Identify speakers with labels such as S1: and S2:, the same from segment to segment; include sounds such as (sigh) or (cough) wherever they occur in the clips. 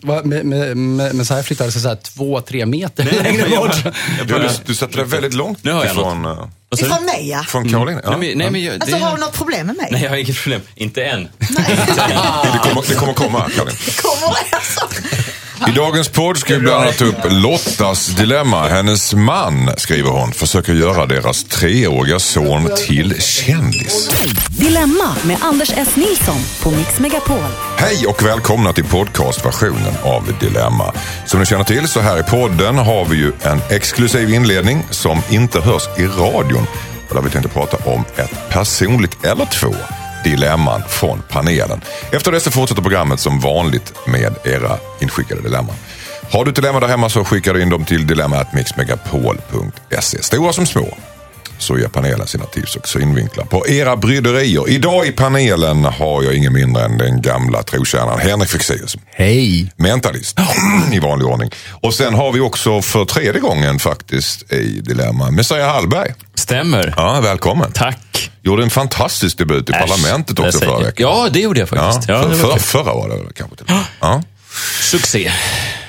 S1: Va, Men, men, men, men så här flyttades det så här två, tre meter längre
S2: men jag-
S1: bort.
S2: jag
S3: Du,
S2: börjar-
S3: du, du sätter dig väldigt långt
S2: Nu hör jag Mm.
S3: ifrån, eh,
S2: Vad
S1: Alltså,
S2: sa du?
S4: Ifrån mig ja.
S3: från Caroline. Ja.
S2: Nej, men, nej, men, jag- det,
S4: Alltså har du något problem med mig?
S2: nej, (laughs) jag har inget problem. Inte än.
S3: Det, kommer, det kommer komma,
S2: (laughs)
S3: Caroline.
S4: Kommer (laughs) det alltså?
S3: I dagens podd ska vi bland annat ta upp Lottas dilemma. Hennes man, skriver hon, försöker göra deras treåriga son till kändis.
S5: Dilemma med Anders S. Nilsson på Mix Megapol.
S3: Hej och välkomna till podcastversionen av Dilemma. Som ni känner till så här i podden har vi ju en exklusiv inledning som inte hörs i radion. Och där vi tänkte prata om ett personligt eller två dilemman från panelen. Efter det så fortsätter programmet som vanligt med era inskickade dilemman. Har du ett dilemma där hemma så skickar du in dem till dilemma.mixmegapol.se. Stora som små så ger panelen sina tips och synvinklar på era bryderier. Idag i panelen har jag ingen mindre än den gamla trotjänaren Henrik Fexeus.
S1: Hej.
S3: Mentalist (clears throat) i vanlig ordning. Och sen har vi också för tredje gången faktiskt i Dilemma Messiah Hallberg.
S2: Stämmer.
S3: Ja, välkommen.
S2: Tack.
S3: Gjorde en fantastisk debut i
S2: Äsch,
S3: parlamentet också
S2: där säger-
S3: förra veckan.
S2: Ja, det gjorde jag faktiskt. Ja,
S3: för,
S2: det var
S3: för,
S2: kul.
S3: förra var det väl kanske till och med. ja.
S2: Succé.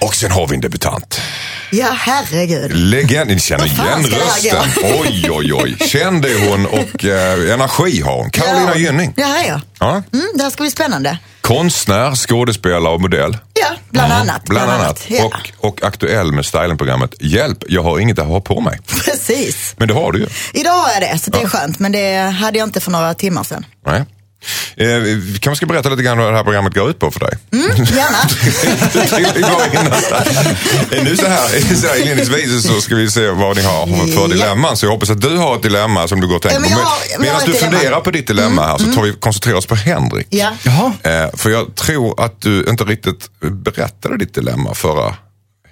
S3: Och sen har vi en debutant.
S4: Ja herregud.
S3: Legend, ni känner
S4: Vad fan
S3: igen
S4: ska det här
S3: rösten. Oj, oj, oj. Känd är hon och eh, energi har hon. Carolina Gynning.
S4: Ja, här ja.
S3: Ja.
S4: Mm, det här ska bli spännande.
S3: Konstnär, skådespelare och modell.
S4: Ja, bland annat.
S3: Bland annat.
S4: Ja.
S3: Och, och aktuell med styling-programmet Hjälp, jag har inget att ha på mig.
S4: (laughs) Precis.
S3: Men det har du ju.
S4: Idag har jag det, så det är
S3: Ja.
S4: skönt. Men det hade jag inte för några timmar sedan.
S3: Nej. Eh, vi kanske ska berätta lite grann vad det här programmet går ut på för dig.
S4: Mm.
S3: (laughs)
S4: Gärna.
S3: Vi går in här. Eh, nu så här, så här inledningsvis så ska vi se vad ni har för
S4: Ja.
S3: dilemman. Så jag hoppas att du har ett dilemma som du går och tänker
S4: Ja,
S3: på.
S4: men jag har- men jag
S3: medan
S4: har ett
S3: du
S4: dilemma. Mm.
S3: funderar på ditt dilemma här så tar vi, koncentrerar oss på Henrik.
S4: Ja.
S1: Jaha.
S3: Eh, för jag tror att du inte riktigt berättade ditt dilemma förra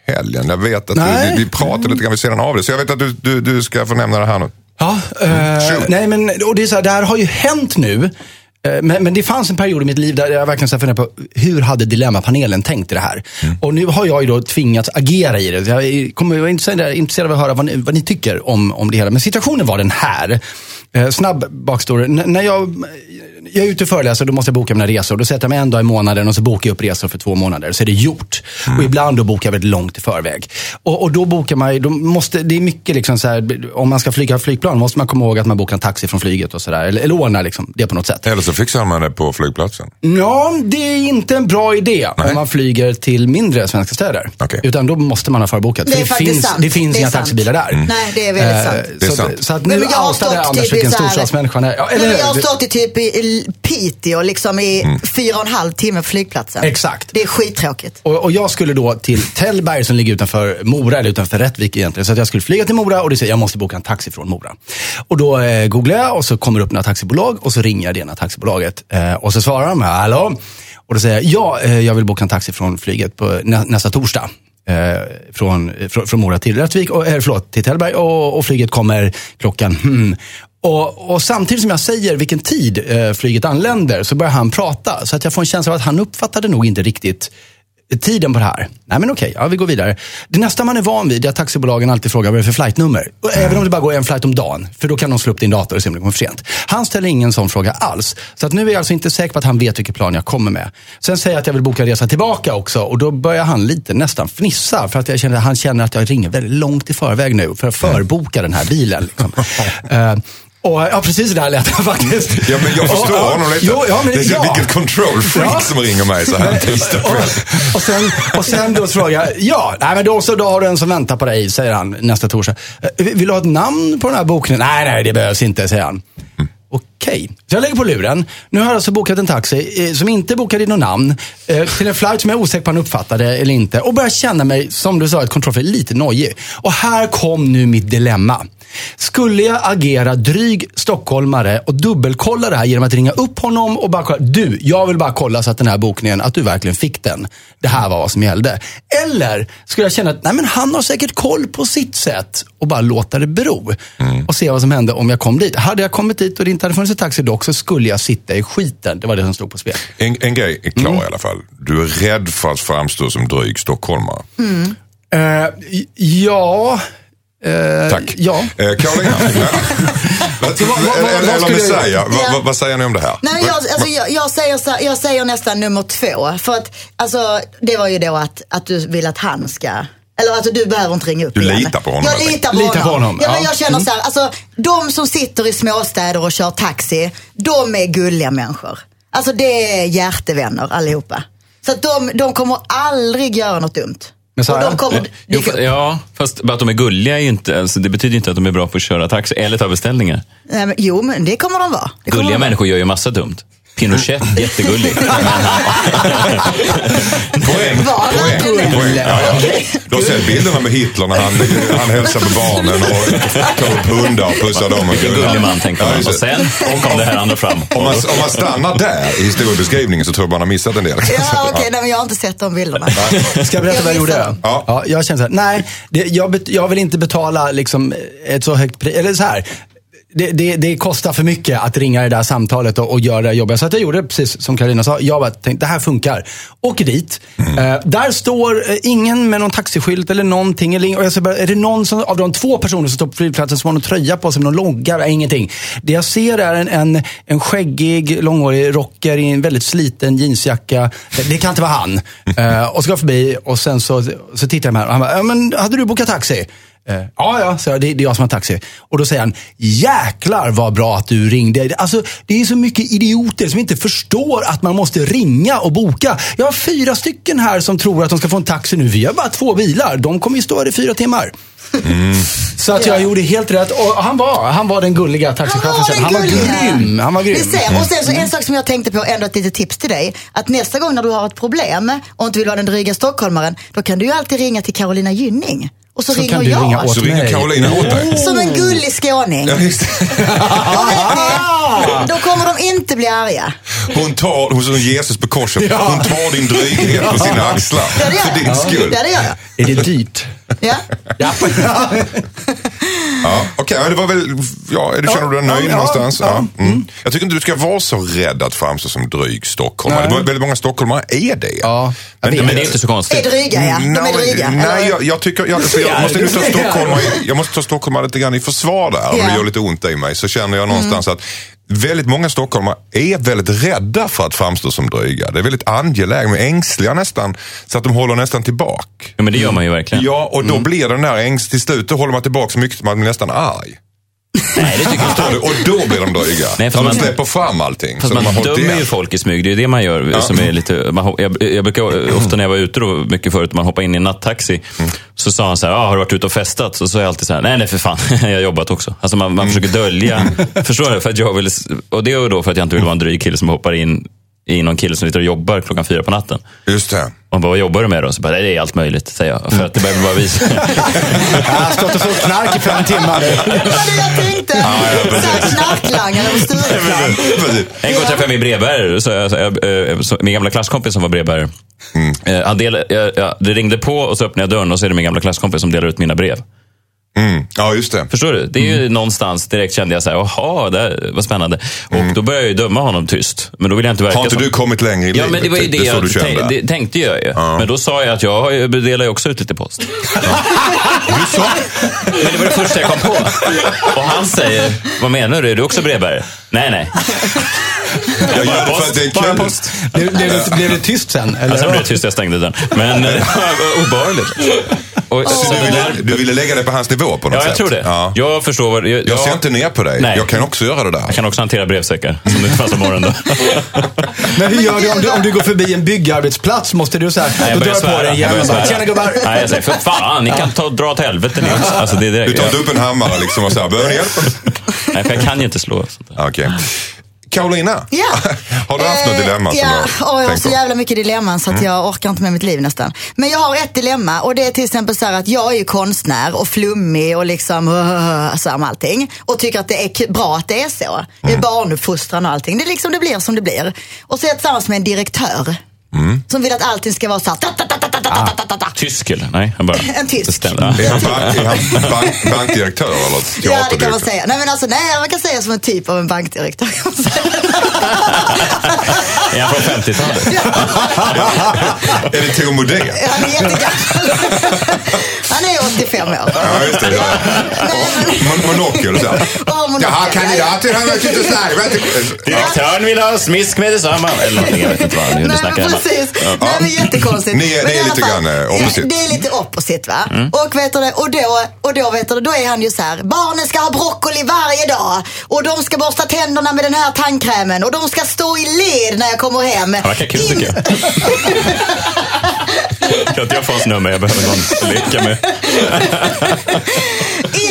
S3: helgen. Jag vet att du,
S1: Nej.
S3: vi, vi pratade lite grann vid sidan av det. Så jag vet att du, du, du ska få nämna det här nu.
S1: Ja, eh,
S3: Shoot.
S1: nej men och det, är så här, det här har ju hänt nu. Eh, Men, men det fanns en period i mitt liv där jag verkligen så här funderade på hur hade Dilemmapanelen tänkt i det här? Och nu har jag ju då tvingats agera i det. Jag är- kommer jag är intresserad, intresserad av att höra vad ni, vad ni tycker om, om det hela. Men situationen var den här. Eh, snabb backstory. N- när jag, jag är ute och föreläser då måste jag boka mina resor. Då sätter jag mig en dag i månaden och så bokar jag upp resor för två månader. Så är det gjort.
S3: Mm.
S1: Och ibland då bokar jag väldigt långt i förväg. Och, och då bokar man, då måste, det är mycket liksom så här, om man ska flyga flygplan måste man komma ihåg att man bokar en taxi från flyget och sådär. Eller, eller ordna liksom det på något sätt.
S3: Eller så fixar man det på flygplatsen.
S1: Ja, det är inte en bra idé
S3: Nej.
S1: om man flyger till mindre svenska städer.
S3: Okej.
S1: Utan då måste man ha förbokat.
S4: Det
S1: För
S4: är faktiskt
S1: finns,
S4: sant.
S1: det finns
S4: Det är
S1: inga
S4: sant. Mm.
S1: taxibilar där.
S4: Nej, det är väldigt sant.
S1: Eh,
S3: Det är
S1: så,
S3: sant.
S1: att- så att
S4: Nej,
S1: nu
S4: men jag har
S1: outade
S4: stått
S1: Anders
S4: typ i
S1: vilken
S4: så här-
S1: storstadsmänniska han är. Ja,
S4: Nej,
S1: eller
S4: men jag har
S1: hur?
S4: stått i typ i Piteå liksom i
S3: Mm.
S4: fyra och en halv timme på flygplatsen.
S1: Exakt.
S4: Det är skittråkigt.
S1: Och, och jag skulle då till Tällberg som ligger utanför Mora, eller utanför Rättvik egentligen. Så att jag skulle flyga till Mora och det säger jag måste boka en taxi från Mora. Och då eh, googlar jag och så kommer det upp några taxibolag och så ringer jag det ena taxibolaget. Eh, och så svarar de, hallå? Och då säger jag, ja, eh, jag vill boka en taxi från flyget på nä- nästa torsdag. Eh, från, eh, från, från Mora till Rättvik, och, eh, förlåt, till Tällberg och, och flyget kommer klockan hmm. Och, och samtidigt som jag säger vilken tid eh, flyget anländer så börjar han prata. Så att jag får en känsla av att han uppfattade nog inte riktigt tiden på det här. Nej men okej, ja, vi går vidare. Det nästa man är van vid är att taxibolagen alltid frågar vad det är för flightnummer. Och
S3: Mm.
S1: även om det bara går en flight om dagen, för då kan de slå upp din dator och se om det kommer för sent. Han ställer ingen sån fråga alls. Så att nu är jag alltså inte säker på att han vet vilket plan jag kommer med. Sen säger jag att jag vill boka en resa tillbaka också och då börjar han lite nästan fnissa. För att jag känner, han känner att jag ringer väldigt långt i förväg nu för att
S3: Mm.
S1: förboka den här bilen.
S3: (laughs)
S1: Liksom. Eh, och, ja, precis det där lät jag faktiskt.
S3: Ja, men jag förstår
S1: Och, ja,
S3: honom lite.
S1: Jo, ja, men,
S3: det är
S1: ja.
S3: vilket control freak
S1: Ja.
S3: som ringer mig så här en tisdag
S1: (laughs)
S3: kväll. (laughs)
S1: Och, och, sen, och sen då frågar jag, ja, nej, men då, så, då har du en som väntar på dig, säger han nästa torsdag. Eh, Vill vill du ha ett namn på den här bokningen? Nej, nej, det behövs inte, säger han.
S3: Mm.
S1: Okej, så jag lägger på luren. Nu har jag alltså bokat en taxi eh, som inte bokade in något namn. Eh, till en flight som jag är osäker på om han uppfattade eller inte. Och börjar känna mig, som du sa, ett kontrollfel, lite nojig. Och här kom nu mitt dilemma. Skulle jag agera dryg stockholmare och dubbelkolla det här genom att ringa upp honom och bara kolla. Du, jag vill bara kolla så att den här bokningen, att du verkligen fick den. Det här var vad som gällde. Eller skulle jag känna att nej men han har säkert koll på sitt sätt och bara låta det bero. Och se vad som hände om jag kom dit. Hade jag kommit dit och det inte hade funnits en taxi dock så skulle jag sitta i skiten. Det var det som stod på spel.
S3: En, en grej är klar
S1: Mm.
S3: i alla fall. Du är rädd
S1: Mm.
S3: för att framstå som dryg stockholmare.
S1: Eh, j- ja,
S3: Tack.
S1: (laughs) ja.
S3: Eh, Karolina, vad,
S1: Så vad- vad- vad- vad
S3: eller
S1: skulle-
S3: Messiah, vad,
S4: Ja.
S3: vad, vad säger ni om det här?
S4: Nej, men jag, alltså, jag, jag, säger så, jag säger nästan nummer två. För att, alltså, det var ju då att, att du vill att han ska... Eller alltså du behöver inte ringa upp
S3: Du
S4: igen.
S3: litar på honom,
S4: Jag
S3: helt
S4: litar på
S1: enkelt.
S4: honom.
S1: Litar på honom,
S4: Ja, men
S1: ja.
S4: jag känner så här, alltså, de som sitter i småstäder och kör taxi, de är gulliga människor. Alltså det är hjärtevänner allihopa. Så att de, de kommer aldrig göra något dumt.
S1: Men så
S4: och
S1: här-
S4: de kommer
S2: Jo,
S4: dyka
S2: fa-
S4: upp.
S2: ja, fast bara att de är gulliga är ju inte, alltså, det betyder ju inte att de är bra på att köra taxi eller ta beställningar.
S4: Nej, men, jo, men det kommer de vara. Det kommer
S2: Gulliga
S4: de Mm. vara.
S2: människor gör ju massa dumt. Pinochet,
S4: (laughs)
S2: jättegullig.
S3: Poäng.
S4: Var
S3: Poäng.
S4: verkligen.
S3: Poäng. Ja, ja. Du har sett bilderna med Hitler när han, han hälsar på barnen och tar upp hundar och pussar dem. och
S2: Vilken
S3: gullar.
S2: gullig man, tänkte
S3: Ja,
S2: man.
S3: just
S2: Och
S3: det.
S2: sen kom det här andra fram.
S3: Om man, om man stannar där i historiebeskrivningen så tror jag man har missat en del.
S4: Ja, okej, nej, men jag har inte sett de bilderna.
S1: Ska jag berätta vad jag
S4: Jag missade
S1: gjorde?
S3: den. Ja.
S1: jag kände så här, nej, det, jag, bet, jag vill inte betala liksom ett så högt pris. Eller så här, det, det, det kostar för mycket att ringa det där samtalet och, och göra det här jobbet. Så att jag gjorde precis som Karolina sa. Jag bara tänkte, det här funkar. Åker dit. Eh, där står eh, ingen med någon taxiskylt eller någonting. Eller, ing- och jag ser bara, är det någon som, av de två personer som står på flygplatsen som har någon tröja på sig med någon logga? Nej, Ingenting. Det jag ser är en, en, en skäggig, långhårig rocker i en väldigt sliten jeansjacka. Det, det kan inte vara han. Eh, och så går jag förbi och sen så, så tittar jag med honom. och Han bara, ja, men hade du bokat taxi? Eh, ja, ja, så jag, det, det är jag som har taxi. Och då säger han, jäklar vad bra att du ringde. Alltså, det är så mycket idioter som inte förstår att man måste ringa och boka. Jag har fyra stycken här som tror att de ska få en taxi nu. Vi har bara två bilar. De kommer ju stå här i fyra timmar. Så att jag gjorde helt rätt. Och han var, han var den gulliga taxichauffören. sen. Han var grym. Han var grym.
S4: Vi ser. Och sen så en sak som jag tänkte på, ändå ett litet tips till dig. Att nästa gång när du har ett problem och inte vill vara den dryga stockholmaren, då kan du ju alltid ringa till Carolina Gynning. Och så,
S1: Så
S4: ringer
S1: kan du
S4: jag.
S1: ringa åt
S3: Så ringer
S1: mig.
S3: Karolina åt dig.
S4: Som en gullig
S3: (laughs)
S4: skåning.
S3: Ja, just det.
S4: Då vet ni, Då kommer de inte bli arga.
S3: Hon tar, hon är som Jesus på korset,
S1: Ja.
S3: hon tar din dryghet på sina axlar.
S4: Ja, det
S3: För
S4: gör
S3: din
S4: jag.
S3: skull.
S4: Ja, det gör jag.
S1: Är det dyrt?
S4: Ja.
S1: ja.
S3: Ja, Okej, ja, det var väl, ja, är du, känner du dig
S1: Ja,
S3: nöjd
S1: ja,
S3: någonstans?
S1: ja.
S3: Ja. Mm. Jag tycker inte du ska vara så rädd att framstå som dryg stockholmare. Det var- Väldigt många stockholmare är det.
S1: Ja, jag
S3: men,
S1: vet.
S2: Men det är inte så
S4: De är
S2: konstigt.
S4: dryga ja. De är
S3: Nej,
S4: dryga.
S3: Nej,
S4: eller?
S3: jag, jag tycker, jag, för jag,
S1: ser,
S3: måste
S1: du
S3: nu ta
S1: ser.
S3: Stockholm, jag måste ta Stockholm lite grann i försvar där, om
S4: Ja.
S3: det gör lite ont i mig, så känner jag någonstans att Väldigt många stockholmare är väldigt rädda för att framstå som dryga. Det är väldigt angelägna, men ängsliga nästan, så att de håller nästan tillbaka.
S2: Ja, men det gör man ju verkligen. Mm.
S3: Ja, och då blir den där ängst till slut, då håller man tillbaka så mycket att man blir nästan arg.
S2: Nej, det tycker jag inte.
S3: Förstår du? Och då blir de dryga.
S2: Nej, för
S3: När man
S2: man-
S3: släpper fram allting.
S2: Fast
S3: så
S2: man,
S3: de har hållit
S2: dömer
S3: igen.
S2: ju folk i smyg. Det är ju det man gör. Som är lite, man, hop- jag, jag brukar ofta när jag var ute då, mycket förut, man hoppade in i en nattaxi. Så sa han så här, ah, har du varit ute och festat? Så sa jag alltid så här, nej nej för fan, (laughs) jag har jobbat också. Alltså man, man försöker dölja. (laughs) Förstår du? För att jag vill, och det är ju då för att jag inte vill vara en dryg kille som hoppar in i någon kille som sitter och jobbar klockan fyra på natten.
S3: Just det.
S2: Och han bara, vad jobbar du med då? Så bara, "Nej, det är allt möjligt, säger jag. För att det behöver bara
S1: (laughs)
S2: visa. (laughs)
S1: Jag har stått och sålt knark i fem timmar.
S4: Det var det jag tänkte. Såhär knarklangare och Stureplan.
S3: Precis.
S2: En gång träffade jag min brevbärare. Så jag, så jag, eh, så, min gamla klasskompis som var brevbärare.
S3: Mm.
S2: Eh, han del, jag, jag, det ringde på och så öppnade jag dörren och så är det min gamla klasskompis som delar ut mina brev.
S3: (laughs) Mm. Ja, just det.
S2: Förstår du? Det är
S3: Mm.
S2: ju någonstans direkt kände jag så här, jaha, det här var spännande. Och då började jag ju döma honom tyst. Men då ville jag inte verka
S3: Mm. Har inte
S2: som...
S3: du kommit längre
S2: Ja,
S3: i livet?
S2: men det var ju det,
S3: är så
S2: jag
S3: du kände.
S2: tänk, det, tänkte jag ju. Men då sa jag att jag har ju- delar ju också ut lite post. Men det var det första jag kom på. Och han säger, vad menar du? Är du också brevbärare? Nej, nej.
S3: Jag gör det för att det
S2: Bara
S3: är kul.
S2: post.
S1: Blev, blev, det, blev det tyst sen? Eller?
S2: Ja, sen blev det tyst, jag stängde dörren. Men eh, det var obehagligt. Och, så
S3: Så du,
S2: det där,
S3: ville, du ville lägga dig på hans nivå på något
S2: ja,
S3: sätt?
S2: jag tror det.
S3: Ja. Jag,
S2: Jag förstår vad... Jag, jag,
S3: ser inte ner på dig.
S2: Nej.
S3: Jag kan också göra det där.
S2: jag kan också hantera brevsäckar, som det fanns på morgonen. då.
S1: Men hur gör du om, du om du går förbi en byggarbetsplats? Måste du så här,
S2: Nej, jag
S1: då drar
S2: börjar
S1: jag på dig igen
S2: svära. Jag börjar
S1: och bara,
S2: svära.
S1: tjena gubbar.
S2: Nej, jag säger, för fan, ni kan ta, dra åt helvete ni också. Alltså, det är
S3: Du
S2: direkt.
S3: tar
S2: Jag,
S3: upp en hammare liksom och så här, behöver ni hjälp?
S2: (laughs) nej, för jag kan ju inte slå. Sånt där.
S3: Ja, Okej. Karolina,
S4: Ja.
S3: (laughs) har du haft något
S4: Eh,
S3: dilemma som
S4: ja.
S3: du
S4: Åh,
S3: har
S4: jag har
S3: tänkt
S4: så
S3: på? Mm.
S4: jävla mycket dilemman så att jag orkar inte med mitt liv nästan. Men jag har ett dilemma och det är till exempel så här att jag är ju konstnär och flummig och liksom (laughs) uh, så här med allting. Och tycker att det är k- bra att det är så. Det är
S3: Mm.
S4: barnuppfostran och allting. Det, är liksom, det
S3: Mm.
S4: blir som det blir. Och så är jag tillsammans med en direktör. Som vill att allting ska vara så här, ta, ta, ta, ta, ta, ta,
S3: Ah.
S2: Tysk eller? Nej, jag bara...
S4: En tysk.
S2: Det stämmer.
S3: Är han,
S4: (laughs)
S3: bank, är han bank, bankdirektör eller
S4: Ja, det kan man
S3: teaterdirektör?
S4: säga. Nej, men alltså, nej, man kan säga som en typ av en bankdirektör.
S2: Är han från 50-talet?
S3: (laughs) Är det Tor Modén?
S4: Han är jättegammal. Han är 85 år.
S3: Ja, just det. Ja. Mon- Monokel och så. här.
S4: Ja, monokel.
S3: Jaha, kandidaten han har varit ute och slarvat. Ja.
S2: Direktören vill ha smisk med detsamma. Eller någonting, jag vet inte vad han- hur ni
S4: Nej,
S2: snackar hemma.
S4: precis. Nej, men jättekonstigt.
S3: Ni är-
S4: men
S3: ni
S4: i
S3: är
S4: alla
S3: lite
S4: fall-
S3: grann, eh, opposite. Mm.
S4: Det är lite opposite va. Och, vet du, det, och, då, och då, vet du, det, då är han ju så här. Barnen ska ha broccoli varje dag. Och de ska borsta tänderna med den här tandkrämen. Och de ska stå i led när jag kommer hem.
S2: Han verkar kul
S4: In-
S2: tycker jag. Kan inte jag få hans nummer? Jag behöver någon leka med.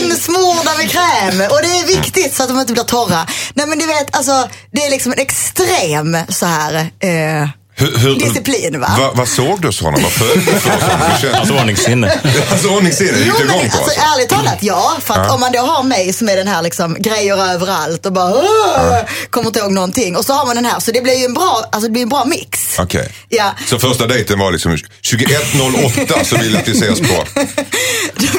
S4: Insmorda med kräm och det är viktigt så att de inte blir torra. Nej men du vet, alltså det är liksom en extrem så här eh,
S3: Hur- hur-
S4: disciplin va.
S3: Vad- Vad såg du hos honom? Vad följde du för honom? Det känns-
S1: Alltså,
S2: Hans ordningssinne.
S3: Alltså ordningssinne, det
S4: Jo,
S3: gick du
S4: men
S3: igång på
S4: alltså,
S3: alltså.
S4: ärligt talat, ja. För att om man då har mig som är den här liksom grejer överallt och bara "Åh", kommer inte ihåg någonting. Och så har man den här, så det blir ju en bra, alltså, det blir en bra mix.
S3: Okej.
S4: Ja.
S3: Så första dejten var liksom 21.08 så vill jag att vi ses på.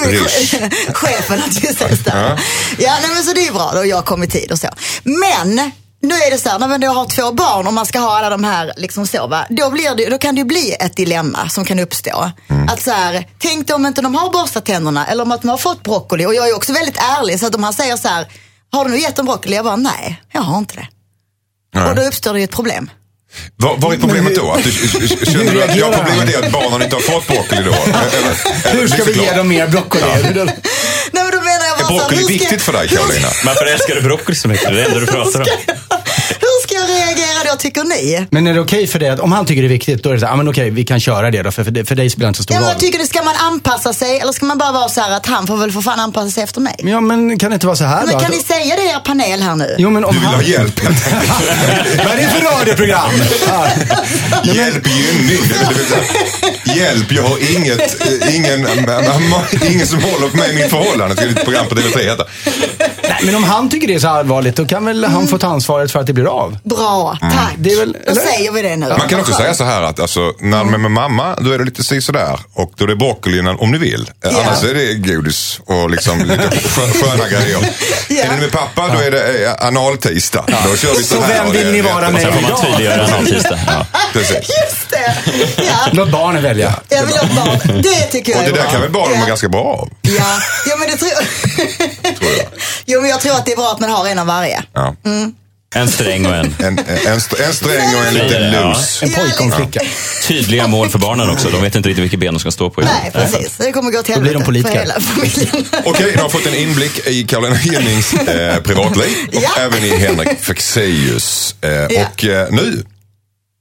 S3: Rysch.
S4: (laughs) Chefen att vi ses där. Ja, nej, men så det är ju bra. Då jag har kommit i tid och så. Men nu är det så här, när man då har två barn och man ska ha alla de här, liksom så, va? Då, blir det, då kan det ju bli ett dilemma som kan uppstå.
S3: Mm.
S4: Att så här, tänk dig om inte de har borstat tänderna eller om att de har fått broccoli. Och jag är också väldigt ärlig, så att om han säger så här, har du nu gett dem broccoli? Jag bara, nej, jag har inte det.
S3: Nej.
S4: Och då uppstår det ju ett problem.
S3: Vad vad är problemet då? Att du, känner du att, ja, problemet är att barnen inte har fått broccoli då? Eller- eller-
S1: Hur ska vi ge
S3: liksom-
S1: dem mer broccoli?
S4: Nej, men då menar jag bara
S3: Är
S4: så här,
S3: broccoli
S4: hur ska-
S3: viktigt för dig Karolina?
S2: Varför älskar du broccoli så mycket? Det är det enda du pratar om.
S4: (laughs) Hur ska jag reagera då, tycker ni?
S1: Men är det okej för dig att, om han tycker det är viktigt, då är det så här, ah, men okej, vi kan köra det då, för, för, det- för dig spelar det inte så stor
S4: Ja, men
S1: roll.
S4: jag tycker det ska man anpassa sig eller ska man bara vara så här att han får väl för fan anpassa sig efter mig?
S1: Ja, men kan det inte vara så här
S4: Men
S1: då?
S4: kan
S1: att-
S4: ni säga det i er panel här nu?
S1: Jo, men om
S3: Du vill
S1: han...
S3: ha hjälp helt enkelt.
S1: Vad är det för radioprogram? Ja.
S3: Hjälp Jenny. Det vill- det vill säga, Hjälp, jag har inget, eh, ingen, ingen som håller på mig i mitt förhållande. Skulle ett program på TV3 heta.
S1: (laughs) Nej, men om han tycker det är så allvarligt, då kan väl han få ta ansvaret för att det blir av?
S4: Bra,
S3: Mm.
S4: tack.
S1: Det är väl-
S4: Då
S1: eller?
S4: säger vi det nu.
S3: Man kan också säga så här att alltså, när man är med mamma, då är det lite si sådär. Och då är det broccoli innan- om ni vill. Eh,
S4: Ja.
S3: Annars är det godis och liksom lite skö- sköna grejer.
S4: Ja.
S3: Är ni med pappa, då är det eh, analtisdag. Då kör vi så
S1: Så
S3: här.
S1: vem
S3: och det är
S1: vill ni
S3: rätt
S1: vara
S3: och
S1: med?
S2: Sen
S3: så.
S2: får man tydliggöra en annan tisdag. Ja.
S3: Precis.
S4: (laughs) Just det! Ja,
S1: Låt barnen välja.
S4: jag vill ha barn. Det tycker jag
S3: Och det
S4: är
S3: där
S4: bra.
S3: kan väl barnen må
S4: ja.
S3: ganska bra av.
S4: Ja, jo, men det tror jag. (laughs) jo, men jag tror att det är bra att man har en av varje.
S3: Ja.
S2: En sträng och en.
S3: En, en, st- en sträng och en lite
S2: Ja.
S3: loose.
S1: En pojke och en flicka.
S2: Tydliga mål för barnen också. De vet inte riktigt vilket ben de ska stå på.
S4: Nej, precis. Det kommer gå till
S1: Då blir de
S4: helvete för
S1: politiker.
S4: hela familjen. (laughs)
S3: Okej, ni har fått en inblick i Carolina Jennings eh, privatliv och
S4: Ja.
S3: även i Henrik Fexeus. Eh,
S4: Ja.
S3: Och eh, nu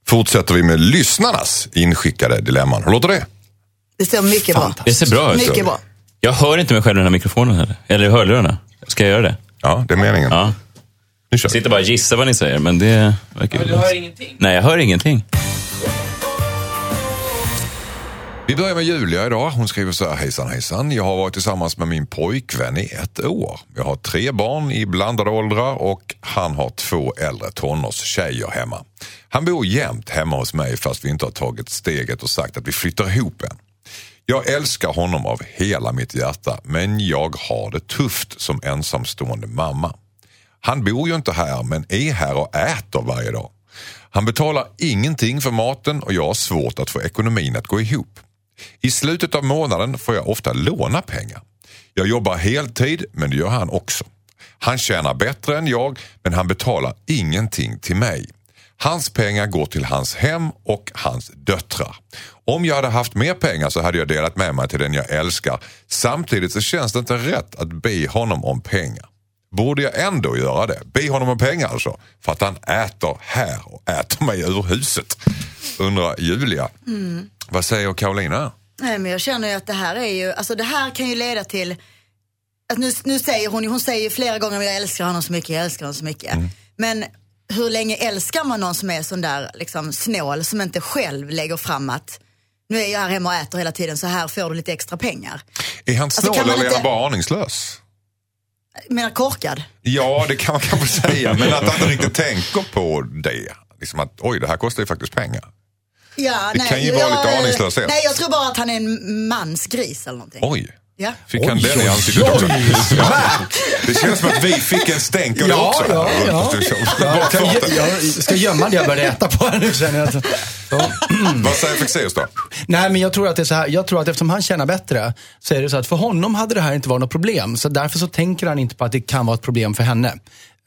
S3: fortsätter vi med lyssnarnas inskickade dilemman. Hur låter det?
S4: Det ser mycket bra
S2: Det ser bra ut.
S4: Mycket bra.
S2: Jag hör inte mig själv i den här mikrofonen heller. Eller i hörlurarna. Ska jag göra det?
S3: Ja, det är meningen.
S2: Ja.
S3: Nu kör
S2: Jag
S3: vi.
S2: sitter bara och gissar vad ni säger, men det verkar ju... Du hör ingenting? Nej, jag hör ingenting.
S3: Vi börjar med Julia idag. Hon skriver så här, hejsan hejsan. Jag har varit tillsammans med min pojkvän i ett år. Jag har tre barn i blandade åldrar och han har två äldre tonårstjejer hemma. Han bor jämt hemma hos mig fast vi inte har tagit steget och sagt att vi flyttar ihop än. Jag älskar honom av hela mitt hjärta men jag har det tufft som ensamstående mamma. Han bor ju inte här men är här och äter varje dag. Han betalar ingenting för maten och jag har svårt att få ekonomin att gå ihop. I slutet av månaden får jag ofta låna pengar. Jag jobbar heltid men det gör han också. Han tjänar bättre än jag men han betalar ingenting till mig. Hans pengar går till hans hem och hans döttrar. Om jag hade haft mer pengar så hade jag delat med mig till den jag älskar. Samtidigt så känns det inte rätt att be honom om pengar. Borde jag ändå göra det? Be honom om pengar alltså. För att han äter här och äter mig ur huset. Undrar Julia. Vad säger Karolina?
S4: Nej, men jag känner ju att det här är ju, alltså det här kan ju leda till, att nu, nu säger hon ju- hon säger ju flera gånger jag älskar honom så mycket, jag älskar honom så mycket.
S3: Mm.
S4: Men hur länge älskar man någon som är sån där liksom snål som inte själv lägger fram att nu är jag här hemma och äter hela tiden så här får du lite extra pengar.
S3: Är han snål
S4: Alltså, kan man
S3: eller är han
S4: inte-
S3: bara aningslös?
S4: Jag menar korkad.
S3: Ja, det kan man kanske säga. Men att han inte riktigt tänker på det. Liksom att oj, det här kostar ju faktiskt pengar.
S4: Ja,
S3: det
S4: nej,
S3: kan ju vara
S4: jag-
S3: lite aningslöshet.
S4: Nej, jag tror bara att han är en mansgris eller någonting.
S3: Oj.
S4: Ja.
S3: Fick han
S1: Oj,
S3: den i
S1: oj,
S3: ansiktet också?
S1: oj.
S3: Ja. Det känns som att vi fick en stänk av det
S1: Ja,
S3: också.
S1: ja, ja.
S3: Bara
S1: Jag, kan,
S3: klart det.
S1: jag, jag ska gömma det jag började äta på här nu känner jag. Ja.
S3: Vad säger Fexeus då?
S1: Nej, men jag tror att det är så här. Jag tror att eftersom han tjänar bättre så är det så att för honom hade det här inte varit något problem. Så därför så tänker han inte på att det kan vara ett problem för henne.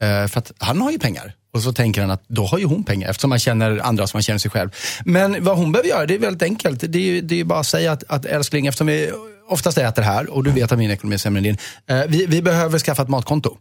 S1: Eh, för att han har ju pengar. Och så tänker han att då har ju hon pengar eftersom han känner andra som han känner sig själv. Men vad hon behöver göra, det är väldigt enkelt. Det är ju, det är ju bara att säga att, att älskling, eftersom vi oftast äter här och du vet att min ekonomi är sämre än din. Eh, vi, vi behöver skaffa ett matkonto.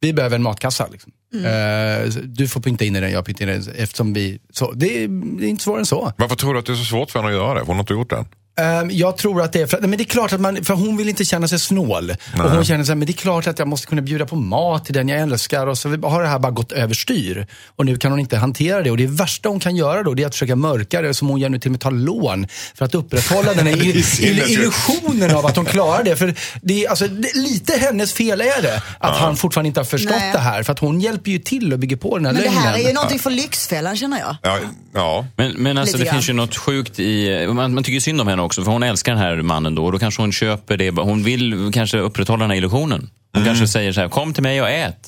S1: Vi behöver en matkassa. Liksom. Eh, du får pynta in i den, jag pyntar in i den. Eftersom vi, så, det, är, det är inte svårare än så.
S3: Varför tror du att det är så svårt för henne att göra det? Hon har inte gjort det än.
S1: Ehm, jag tror att det är för, nej, men det är klart att man, för hon vill inte känna sig snål. Och hon känner så här, men det är klart att jag måste kunna bjuda på mat till den jag älskar. Och så har det här bara gått överstyr. Och nu kan hon inte hantera det. Och det värsta hon kan göra då, det är att försöka mörka det. Som hon gör nu till och med tar lån. För att upprätthålla den här
S3: Det är
S1: ill-
S3: sinnessjukt.
S1: illusionen av att hon klarar det. För det är, alltså, det, lite hennes fel är det. Att han fortfarande inte har förstått
S4: Nej.
S1: det här. För att hon hjälper ju till och bygger på den här
S4: Men det
S1: lögnen.
S4: här är ju någonting för Lyxfällan känner jag.
S3: Ja, ja.
S2: Men, men alltså det
S4: Lite grann.
S2: finns ju något sjukt i... Man, man tycker ju synd om henne också, för hon älskar den här mannen då. Och då kanske hon köper det. Hon vill kanske upprätthålla den här illusionen. Hon kanske säger så här, kom till mig och ät.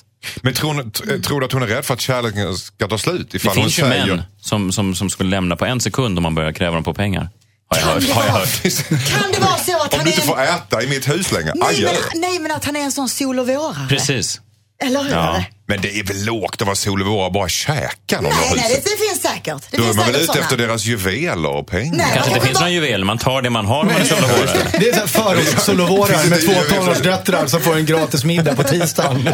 S3: Men tror, ni- t- tror du att hon är rädd för att kärleken ska ta slut?
S2: Det
S3: Ifall hon
S2: finns ju
S3: säger...
S2: män som, som, som skulle lämna på en sekund om man börjar kräva dem på pengar. Har jag
S4: Kan
S2: hört.
S4: det
S2: Har jag
S4: vara-
S3: (laughs)
S2: hört.
S4: Kan det vara så att
S3: Om
S4: han
S3: du
S4: är
S3: inte får
S4: en...
S3: äta i mitt hus längre,
S4: Nej
S3: adjö.
S4: men, nej men att han är en sån sol och vårare.
S2: Precis.
S4: Eller hur?
S2: Ja.
S3: Men det är väl lågt att vara solvåra och bara käka någon
S4: Nej,
S3: av
S4: nej
S3: huset?
S4: det, det finns säkert. Det
S3: Då är
S4: finns
S3: man väl
S4: säkert
S3: ute
S4: såna.
S3: efter deras juveler och pengar?
S4: Nej.
S2: Kanske inte
S4: Ja,
S2: finns någon juvel, man tar det man har om man är solvårare.
S1: Det är så här förortssolovårar med
S3: Precis, det är ju-
S1: två tonårsdöttrar som får en gratis middag på tisdagen.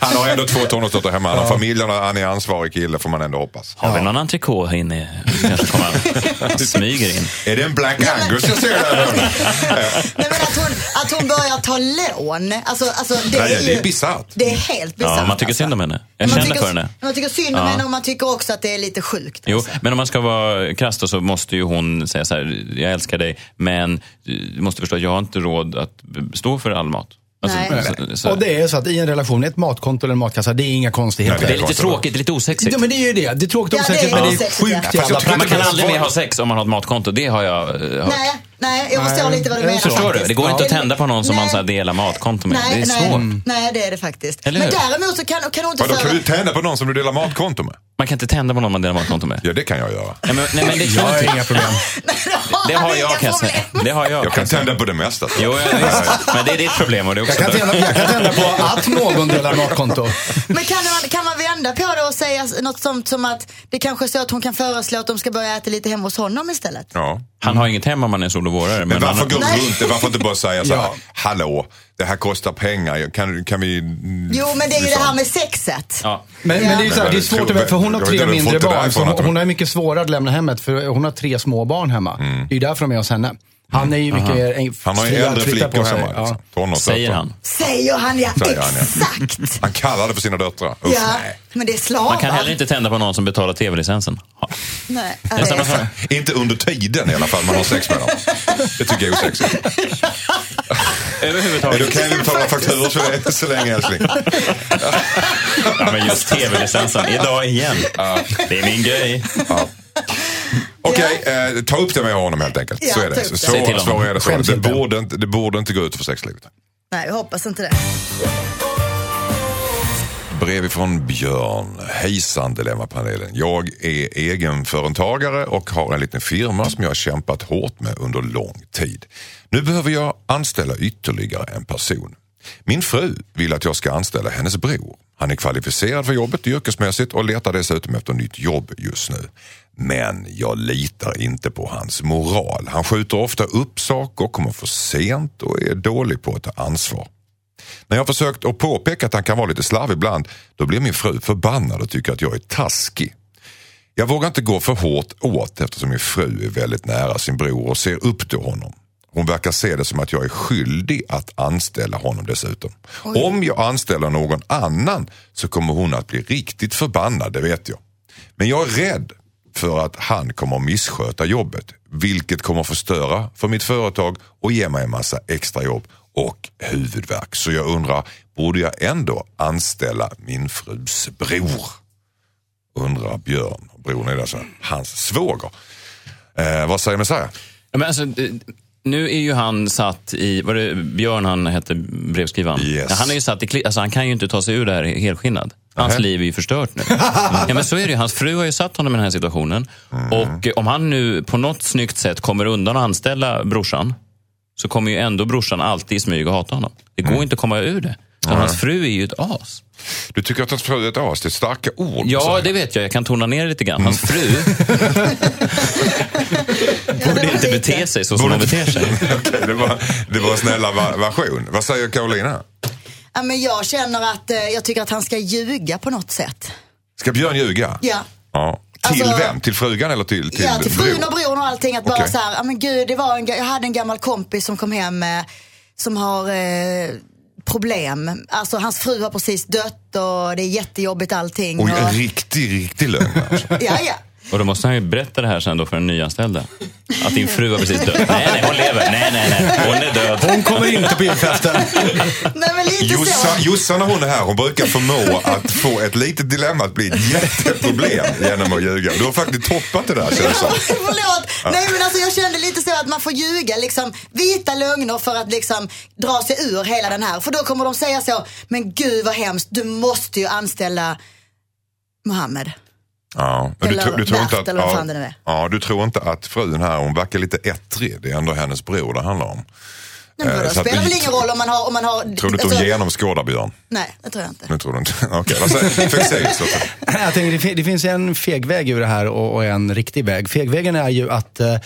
S3: Han har ändå två tonårsdöttrar hemma, han har familjen och han är ansvarig kille får man ändå hoppas.
S2: Har vi någon entrecote här
S4: (laughs)
S2: inne? Kanske kommer smyger in.
S3: Är det en Black Angus jag ser där?
S4: Nej, men att, hon, att hon börjar ta lån. Alltså, alltså, det,
S3: Nej,
S4: är ju,
S3: det är bisarrt.
S4: Det är helt bisarrt.
S2: Ja, man tycker
S4: alltså.
S2: synd om henne. Jag
S4: Man
S2: känner
S4: tycker-
S2: för henne.
S4: Man tycker synd om
S2: Ja.
S4: henne och man tycker också att det är lite sjukt.
S2: Jo,
S4: alltså.
S2: men om man ska vara krass då, så måste ju hon säga så här, jag älskar dig, men du måste förstå att jag har inte råd att b- stå för all mat. Alltså,
S4: Nej.
S2: så, så,
S1: Och det är så att i en relation, ett matkonto eller en matkassa, det är inga konstigheter.
S3: Nej,
S2: det är lite tråkigt, det är lite osexigt.
S1: Ja, men det är ju det. Det är tråkigt och
S4: Ja,
S1: osexigt,
S4: det är
S1: men det är
S4: osexigt, ja.
S1: sjukt
S4: Fast jag
S1: jävla
S3: tror
S2: Man
S1: praktiskt.
S2: kan aldrig mer ha sex om man har ett matkonto, det har jag eh, hört.
S4: Nej, nej, jag förstår
S1: Nej,
S4: lite vad du
S1: jag
S4: menar.
S1: förstår
S2: Förstår du?
S4: faktiskt.
S2: Det går inte att tända på någon som man
S4: Nej.
S2: så här delar matkonto med. det är
S4: nej, Mm.
S2: svårt.
S4: Nej, det är det faktiskt.
S2: Eller
S4: men
S2: hur?
S4: däremot så kan, kan hon inte
S3: Vadå, kan
S4: föra...
S3: du
S4: (laughs)
S3: tända på någon som du delar matkonto med?
S2: Man kan inte tända på någon man delar matkonto med.
S3: Ja, det kan jag göra.
S2: Nej, men, nej, men det, är
S1: Jag har
S2: någonting-
S1: inga problem.
S2: det har jag
S4: Inga
S2: kan jag säga.
S4: problem.
S2: Det har jag.
S3: Jag
S1: Alltså-
S3: kan tända på det mesta. tror jag.
S2: Jo, ja, visst. Men det är ditt problem och det är
S1: Jag
S2: också
S1: kan tända, jag kan tända på att någon delar matkonto.
S4: Men kan man, kan man vända på det och säga något sånt som att det kanske är så att hon kan föreslå att de ska börja äta lite hemma hos honom istället?
S3: Ja.
S2: Han har inget hem om man är solovårare.
S3: Men varför gå
S4: Nej.
S3: runt det? Varför inte bara säga så här,
S1: Ja.
S3: hallå, det här kostar pengar, kan, kan vi...
S4: Jo, men det är ju det
S3: liksom-
S4: här med sexet.
S2: Ja.
S1: Men, men det är ju så här, det är svårt att veta, för hon har
S3: Jag
S1: tre
S3: vet inte, du får
S1: mindre
S3: inte
S1: barn. Så
S3: därifrån att
S1: hon,
S3: de-
S1: hon är mycket svårare att lämna hemmet, för hon har tre små barn hemma. Det är ju därför de är hos henne. Han är ju mycket en-
S3: Mm. Han har ju
S1: fri att
S3: äldre
S1: flytta på
S3: flickor
S1: sig.
S3: hemma. Liksom.
S1: Ja.
S3: Tonårsdöttrar.
S2: Säger han.
S4: Säger han ja,
S3: Säger han, ja. (laughs)
S4: exakt.
S3: Han kallar det för sina döttrar. Usch,
S4: Ja,
S3: nej.
S4: men det är slavar.
S2: Man kan heller inte tända på någon som betalar tv-licensen. Ja.
S4: Nej, ja,
S2: Nästan
S4: det är
S2: vad
S4: sant.
S2: fan.
S3: Inte under tiden i alla fall man har sex med dem. Det tycker jag är osexigt.
S1: (laughs)
S3: Men Då
S2: Överhuvudtaget.
S3: kan jag ju betala fakturor så, så länge älskling.
S2: Ja, men just tv-licensen. Idag igen. Det är min grej.
S3: Okej, eh, ta upp det med honom helt enkelt.
S4: Ja,
S3: så är
S4: ta
S3: det.
S4: upp
S3: Så,
S4: det.
S3: så
S2: Säg till honom.
S3: är det. Så. Det,
S1: Skämskudden.
S3: borde inte, det borde inte gå ut för sexlivet.
S4: Nej, jag
S3: (laughs)
S4: hoppas inte det.
S3: Brev från Björn. Hejsan Dilemmapanelen. Jag är egenföretagare och har en liten firma som jag har kämpat hårt med under lång tid. Nu behöver jag anställa ytterligare en person. Min fru vill att jag ska anställa hennes bror. Han är kvalificerad för jobbet yrkesmässigt och letar dessutom efter nytt jobb just nu. Men jag litar inte på hans moral. Han skjuter ofta upp saker, kommer för sent och är dålig på att ta ansvar. När jag har försökt att påpeka att han kan vara lite slarvig ibland, då blir min fru förbannad och tycker att jag är taskig. Jag vågar inte gå för hårt åt eftersom min fru är väldigt nära sin bror och ser upp till honom. Hon verkar se det som att jag är skyldig att anställa honom dessutom. Om jag anställer någon annan så kommer hon att bli riktigt förbannad, det vet jag. Men jag är rädd för att han kommer att missköta jobbet, vilket kommer att förstöra för mitt företag och ge mig en massa extra jobb och huvudvärk. Så jag undrar, borde jag ändå anställa min frus bror? undrar Björn. Bron är alltså hans svåger. Eh, vad säger Messiah?
S2: Ja, men alltså, det- nu är ju han satt i, var det Björn han hette, brevskrivaren?
S3: Yes.
S2: Ja, han är ju satt i, kli- alltså, han kan ju inte ta sig ur det här helskinnad. Hans
S3: Nähä.
S2: liv är ju förstört
S3: (laughs)
S2: nu. ja, men så är det ju. Hans fru har ju satt honom i den här situationen.
S3: Mm.
S2: Och eh, om han nu på något snyggt sätt kommer undan att anställa brorsan, så kommer ju ändå brorsan alltid i smyg och hata honom. Det
S3: Mm.
S2: går inte att komma ur det. Så hans fru är ju ett as.
S3: Du tycker att hans fru är ett as, det är starka ord.
S2: Ja,
S3: Messiah.
S2: det vet jag. Jag kan tona ner det lite grann. Hans (laughs) fru borde inte bete sig så som hon beter sig.
S3: (laughs) Okej, det, var, det var en snälla va- version. Vad säger Carolina?
S4: Ja, men jag känner att eh, jag tycker att han ska ljuga på något sätt.
S3: Ska Björn ljuga?
S4: Ja.
S3: ja. Till
S4: Alltså-
S3: vem? Till frugan eller till, till,
S4: ja, till frun
S3: bror?
S4: och bron och allting. Att bara
S3: Okej.
S4: så här, ja, men gud, det var en, ga- jag hade en gammal kompis som kom hem eh, som har eh, problem. Alltså hans fru har precis dött och det är jättejobbigt allting.
S3: Oj, en
S4: och,
S3: riktig, riktig lögn. Alltså.
S4: ja, ja.
S2: Och då måste han ju berätta det här sen då för den nyanställda. Att din fru har precis dött. Nej, nej, hon lever. Nej, nej, nej. Hon är död.
S1: Hon kommer (laughs) inte på julfesten.
S4: Nej men lite så.
S3: Jossan, Jossan när hon är här, hon brukar förmå att få ett litet dilemma att bli ett jätteproblem genom att ljuga. Du har faktiskt toppat det där känns det som.
S4: (laughs) Förlåt. Nej men alltså jag kände lite så att man får ljuga liksom vita lögner för att liksom dra sig ur hela den här. För då kommer de säga så, men gud vad hemskt, du måste ju anställa Mohammed.
S3: Ja, men du,
S4: Eller
S3: tror- du tror inte
S4: Bert,
S3: att,
S4: eller vad
S3: ja,
S4: fan det nu är.
S3: ja, du tror inte att frun här, hon verkar lite ettrig. Det är ändå hennes bror det handlar om.
S4: Nej, men
S3: Eh,
S4: vadå,
S3: så att
S4: spelar
S3: det-
S4: väl ingen roll om man har... Om man har
S3: Tror du inte
S4: alltså,
S3: hon genomskådar Björn?
S4: Nej, det tror jag inte.
S3: Nu tror du inte. (laughs) Okej, vad säger för sig, så att-
S1: Jag tänker, det, fin- det finns en feg väg ur det här och, och en riktig väg. Fegvägen är ju att eh,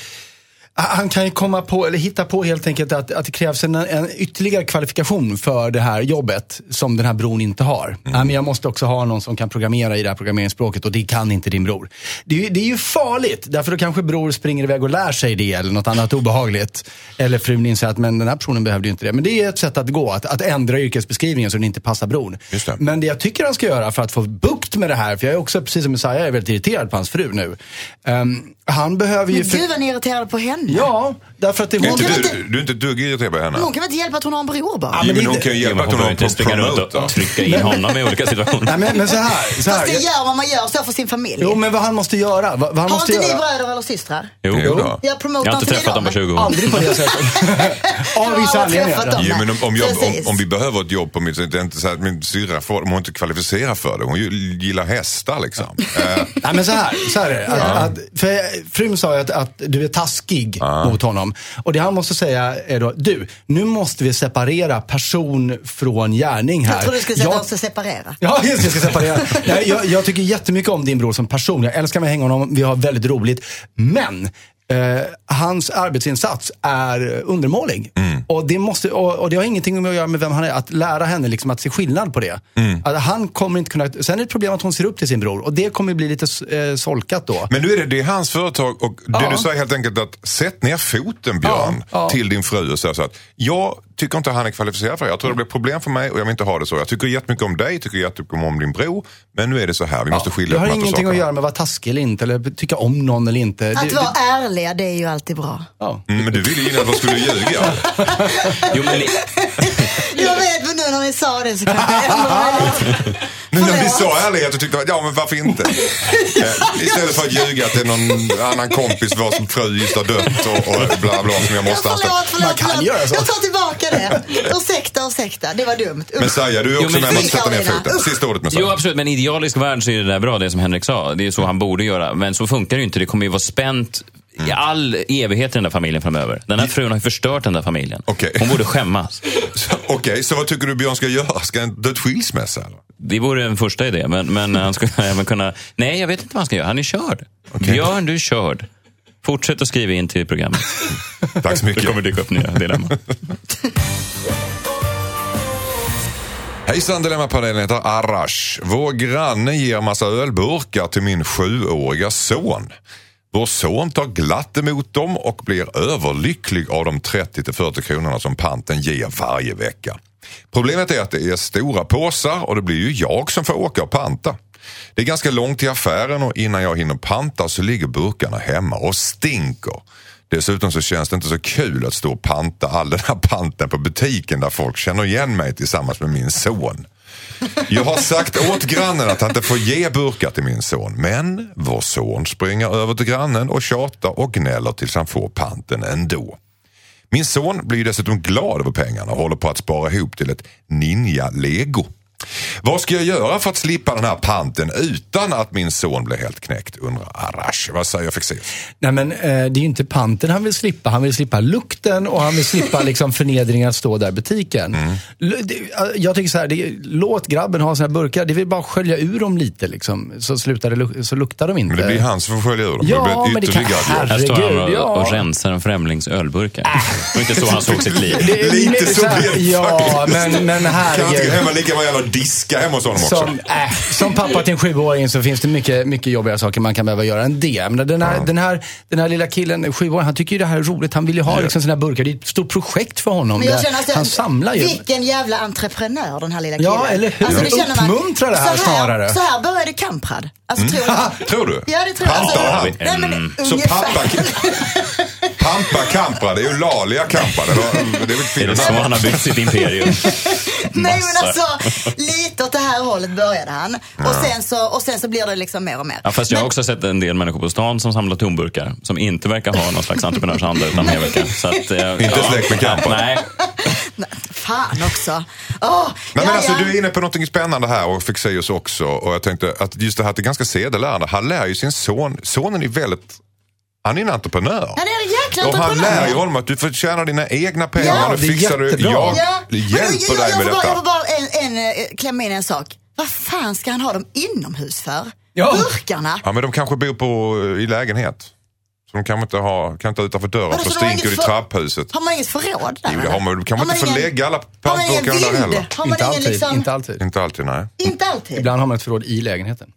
S1: han kan ju komma på, eller hitta på helt enkelt att, att det krävs en, en ytterligare kvalifikation för det här jobbet som den här bron inte har.
S3: Mm.
S1: Nej, men jag måste också ha någon som kan programmera i det här programmeringsspråket och det kan inte din bror. Det är, ju- det är ju farligt, därför då kanske bror springer iväg och lär sig det eller något annat obehagligt. Eller frun inser att men den här personen behövde ju inte det. Men det är ett sätt att gå, att, att ändra yrkesbeskrivningen så den inte passar bron.
S3: Just det.
S1: Men det jag tycker han ska göra för att få bukt med det här, för jag är också, precis som Messiah, är väldigt irriterad på hans fru nu. Ehm, han behöver ju...
S4: Men gud vad ni är irriterade på henne.
S1: Ja, därför att det är
S3: Är
S1: hon...
S3: inte
S4: kan
S3: du,
S4: inte-
S3: du är inte ett dugg irriterad på henne?
S4: Men Hon kan väl inte hjälpa att hon har en bror bara?
S1: Ja,
S3: Jo,
S1: men
S3: men
S1: det-
S3: hon kan ju
S2: Jo,
S3: hjälpa
S2: men
S3: att
S2: hon
S3: hon
S2: behöver
S3: har
S2: inte
S3: en
S2: springa runt
S3: promotor.
S2: och trycka in honom i olika
S1: (laughs)
S2: situationer.
S1: Nej, men, men så här. Så här
S4: Fast det gör vad man gör så för sin familj.
S1: Jo, men vad han måste göra. Vad, vad han
S4: har
S1: måste
S4: inte ni
S1: göra.
S4: bröder eller systrar?
S2: Jo,
S3: Jo då.
S4: Jag promotar
S2: Jag har inte
S4: inte
S2: träffat
S4: dem.
S2: dem på 20 år.
S1: Aldrig på det sättet. (laughs)
S4: (laughs)
S1: Av vissa
S4: Jag har
S1: anledningar.
S4: träffat dem.
S3: Jo,
S4: Nej,
S3: men om, om, jag, om,
S4: precis.
S3: om vi behöver ett jobb på mitt... Det är inte så att min syrra får om hon inte kvalificerar för det. Hon ju- gillar hästar liksom. Eh,
S1: Nej men så här, så här är det. Att, att, för frun sa ju att, att du är taskig mot honom. Och det han måste säga är då, du, nu måste vi separera person från gärning här.
S4: Jag trodde du skulle säga
S1: Jag-
S4: att de ska separera.
S1: Ja, just det. Jag ska separera. Nej, jag, jag tycker jättemycket om din bror som person. Jag älskar mig hänga honom. Vi har väldigt roligt. Men eh, hans arbetsinsats är undermålig.
S3: Mm.
S1: Och, det måste, och, och det har ingenting med att göra med vem han är. Att lära henne liksom att se skillnad på det.
S3: Mm.
S1: Att han kommer inte kunna... Sen är det ett problem att hon ser upp till sin bror. Och det kommer bli lite eh, solkat då.
S3: Men nu är det, det är hans företag och det
S1: Ja.
S3: du säger helt enkelt att sätt ner foten Björn
S1: Ja, ja.
S3: till din fru och säg så att jag tycker inte han är kvalificerad för det. Jag tror det blir problem för mig och jag vill inte ha det så. Jag tycker jättemycket om dig, tycker jättemycket om din bror. Men nu är det så här, vi måste skilja
S1: Det har
S3: på de här två
S1: ingenting att
S3: sakerna.
S1: göra med att vara taskig eller inte. Eller tycka om någon eller inte.
S4: Att
S1: Det-
S4: vara
S1: det-
S4: ärliga, det är ju alltid bra.
S1: ja.
S3: Mm, Men du ville ju innan att de
S1: (laughs)
S3: skulle ljuga.
S2: Jo, men,
S4: Jag vet, men nu när ni sa det så
S1: (laughs)
S4: kanske jag ändrar mig lite.
S3: Nu när vi
S4: Förlåt.
S3: sa ärlighet så tyckte jag, ja men varför
S4: (laughs)
S3: inte? Eh, Istället för att ljuga att det är någon annan kompis vars fru just har dött och, och bla bla som jag
S4: Ja,
S3: måste anställa.
S4: Förlåt,
S1: Man
S4: förlåt,
S1: kan göra
S4: förlåt.
S1: så.
S4: Jag tar tillbaka det. Ursäkta, ursäkta. Det var dumt.
S3: Men Saja, du är
S2: men
S3: också med på att
S4: fy,
S3: sätta ner
S4: Karolina.
S3: foten.
S4: Usch.
S3: Sista ordet med
S2: jo,
S3: Saja.
S2: absolut. Men i idealisk värld så är det där bra, det som Henrik sa. Det är så han borde göra. Men så funkar det ju inte. Det kommer ju vara spänt i all evighet i den där familjen framöver. Den här frun har ju förstört den där familjen.
S3: Okej.
S2: Hon borde skämmas.
S3: Okej, så vad tycker du Björn ska göra? Ska han dö ett skilsmässa? Eller?
S2: Det vore en första idé, men, (laughs) men han skulle även kunna... Nej, jag vet inte vad han ska göra. Han är körd. Björn, du är körd. Fortsätt att skriva in till programmet.
S3: Tack så
S2: (laughs) Det
S3: mycket.
S2: kommer dyka upp (laughs) nya dilemman.
S3: Hejsan Dilemmapanelen heter Arash. Vår granne ger massa ölburkar till min sjuåriga son. Vår son tar glatt emot dem och blir överlycklig av de 30-40 kronorna som panten ger varje vecka. Problemet är att det är stora påsar och det blir ju jag som får åka och panta. Det är ganska långt till affären och innan jag hinner panta så ligger burkarna hemma och stinker. Dessutom så känns det inte så kul att stå och panta all den här panten på butiken där folk känner igen mig tillsammans med min son. Jag har sagt åt grannen att han inte får ge burkar till min son. Men vår son springer över till grannen och tjatar och gnäller tills han får panten ändå. Min son blir dessutom glad över pengarna och håller på att spara ihop till ett ninja-lego. Vad ska jag göra för att slippa den här panten utan att min son blir helt knäckt? undrar Arash. Vad säger Fexeus?
S1: Nej, men eh, det är ju inte panten han vill slippa. Han vill slippa lukten och han vill
S3: (laughs)
S1: slippa liksom, förnedringen att stå där i butiken.
S3: Mm.
S1: L- det, eh, jag tycker så här, det, låt grabben ha sina burkar. Det vill bara skölja ur dem lite liksom, så, slutar det, luk- så luktar de inte.
S3: Men det
S2: Eh.
S3: blir han som får skölja ur dem.
S1: Ja,
S3: det blir
S1: men det kan-
S3: ytterligare jobb.
S2: Här står han
S1: Herregud,
S2: och, och
S1: ja. Äh.
S2: rensar en främlings ölburkar. Det var inte så
S1: (laughs)
S2: han såg sitt liv.
S1: Det är
S3: Lite
S1: lite
S3: så blir det
S1: Ja, men, men
S3: Kan han inte
S1: herregud.
S3: gå hem och ligga med och diska hemma hos honom också?
S1: Som, äh, som pappa till en sjuåring så finns det mycket, mycket jobbiga saker man kan behöva göra än det. Men den, här, den, här, den här lilla killen, sjuåringen, han tycker ju det här är roligt. Han vill ju ha liksom, sina burkar. Det är ett stort projekt för honom.
S4: Men jag
S1: Det-
S4: känner att
S1: han samlar ju.
S4: Vilken jävla entreprenör den här lilla killen. Alltså,
S1: Ja, eller hur?
S4: känner man-
S1: Uppmuntra det här
S4: så
S1: snarare. Mm.
S4: Så här började Kamprad. Alltså, tror
S3: (laughs)
S4: jag.
S3: Tror du?
S4: (laughs) Ja, det tror jag. Alltså,
S3: Pantar han?
S4: nej, men,
S3: Så
S4: ungefär.
S3: pappa... Pampa Kamprad, det är ju Lalia Kamprad. eller? Det är väl ett
S2: Är det
S3: fint
S2: så han
S3: namn?
S2: har byggt sitt imperium?
S4: (laughs) Nej men
S2: Massa.
S4: alltså, lite åt det här hållet började han. Och, sen så, och sen så blir det liksom mer och mer.
S2: Ja, fast jag har också sett en del människor på stan som samlar tomburkar. Som inte verkar ha någon slags entreprenörsanda utan medverkar. Så att, eh,
S3: Inte släkt med Kampa.
S2: Nej,
S4: Fan också. Åh,
S3: Nej, men
S4: ja,
S3: alltså,
S4: ja.
S3: du är inne på någonting spännande här och fick säga oss också. Och jag tänkte att just det här att det är ganska sedelärande. Han lär ju sin son, sonen är väldigt, han är en entreprenör.
S4: Han är en jäkla
S3: Och han
S4: entreprenör.
S3: lär ju honom att du får tjäna dina egna pengar.
S4: Ja,
S3: du
S1: det är
S3: fixar du.
S1: jättebra.
S3: Jag
S4: Ja. Men
S3: hjälper
S4: jag-
S3: dig med
S4: jag- jag får bara- Jag får
S3: detta.
S4: bara en, en, eh, klämma in en sak. Vad fan ska han ha dem inomhus för?
S1: Ja.
S4: Burkarna?
S3: Ja, men de kanske bor på, i lägenhet. Så de kanske inte ha, kan inte ha utanför dörren
S4: Vadå,
S3: för
S4: så de har
S3: stinker det i
S4: inget för-
S3: trapphuset.
S4: Har man inget förråd där?
S3: Jo, det har man. Du kan
S4: Har
S3: man inte få
S4: ingen-
S3: lägga alla
S4: Har man ingen
S3: pantburkarna där
S4: bild?
S3: heller.
S4: Har man
S1: Inte
S4: ingen
S1: alltid,
S4: liksom...
S1: inte alltid.
S3: Inte alltid, nej.
S4: Inte alltid.
S1: Ibland har man ett förråd i lägenheten.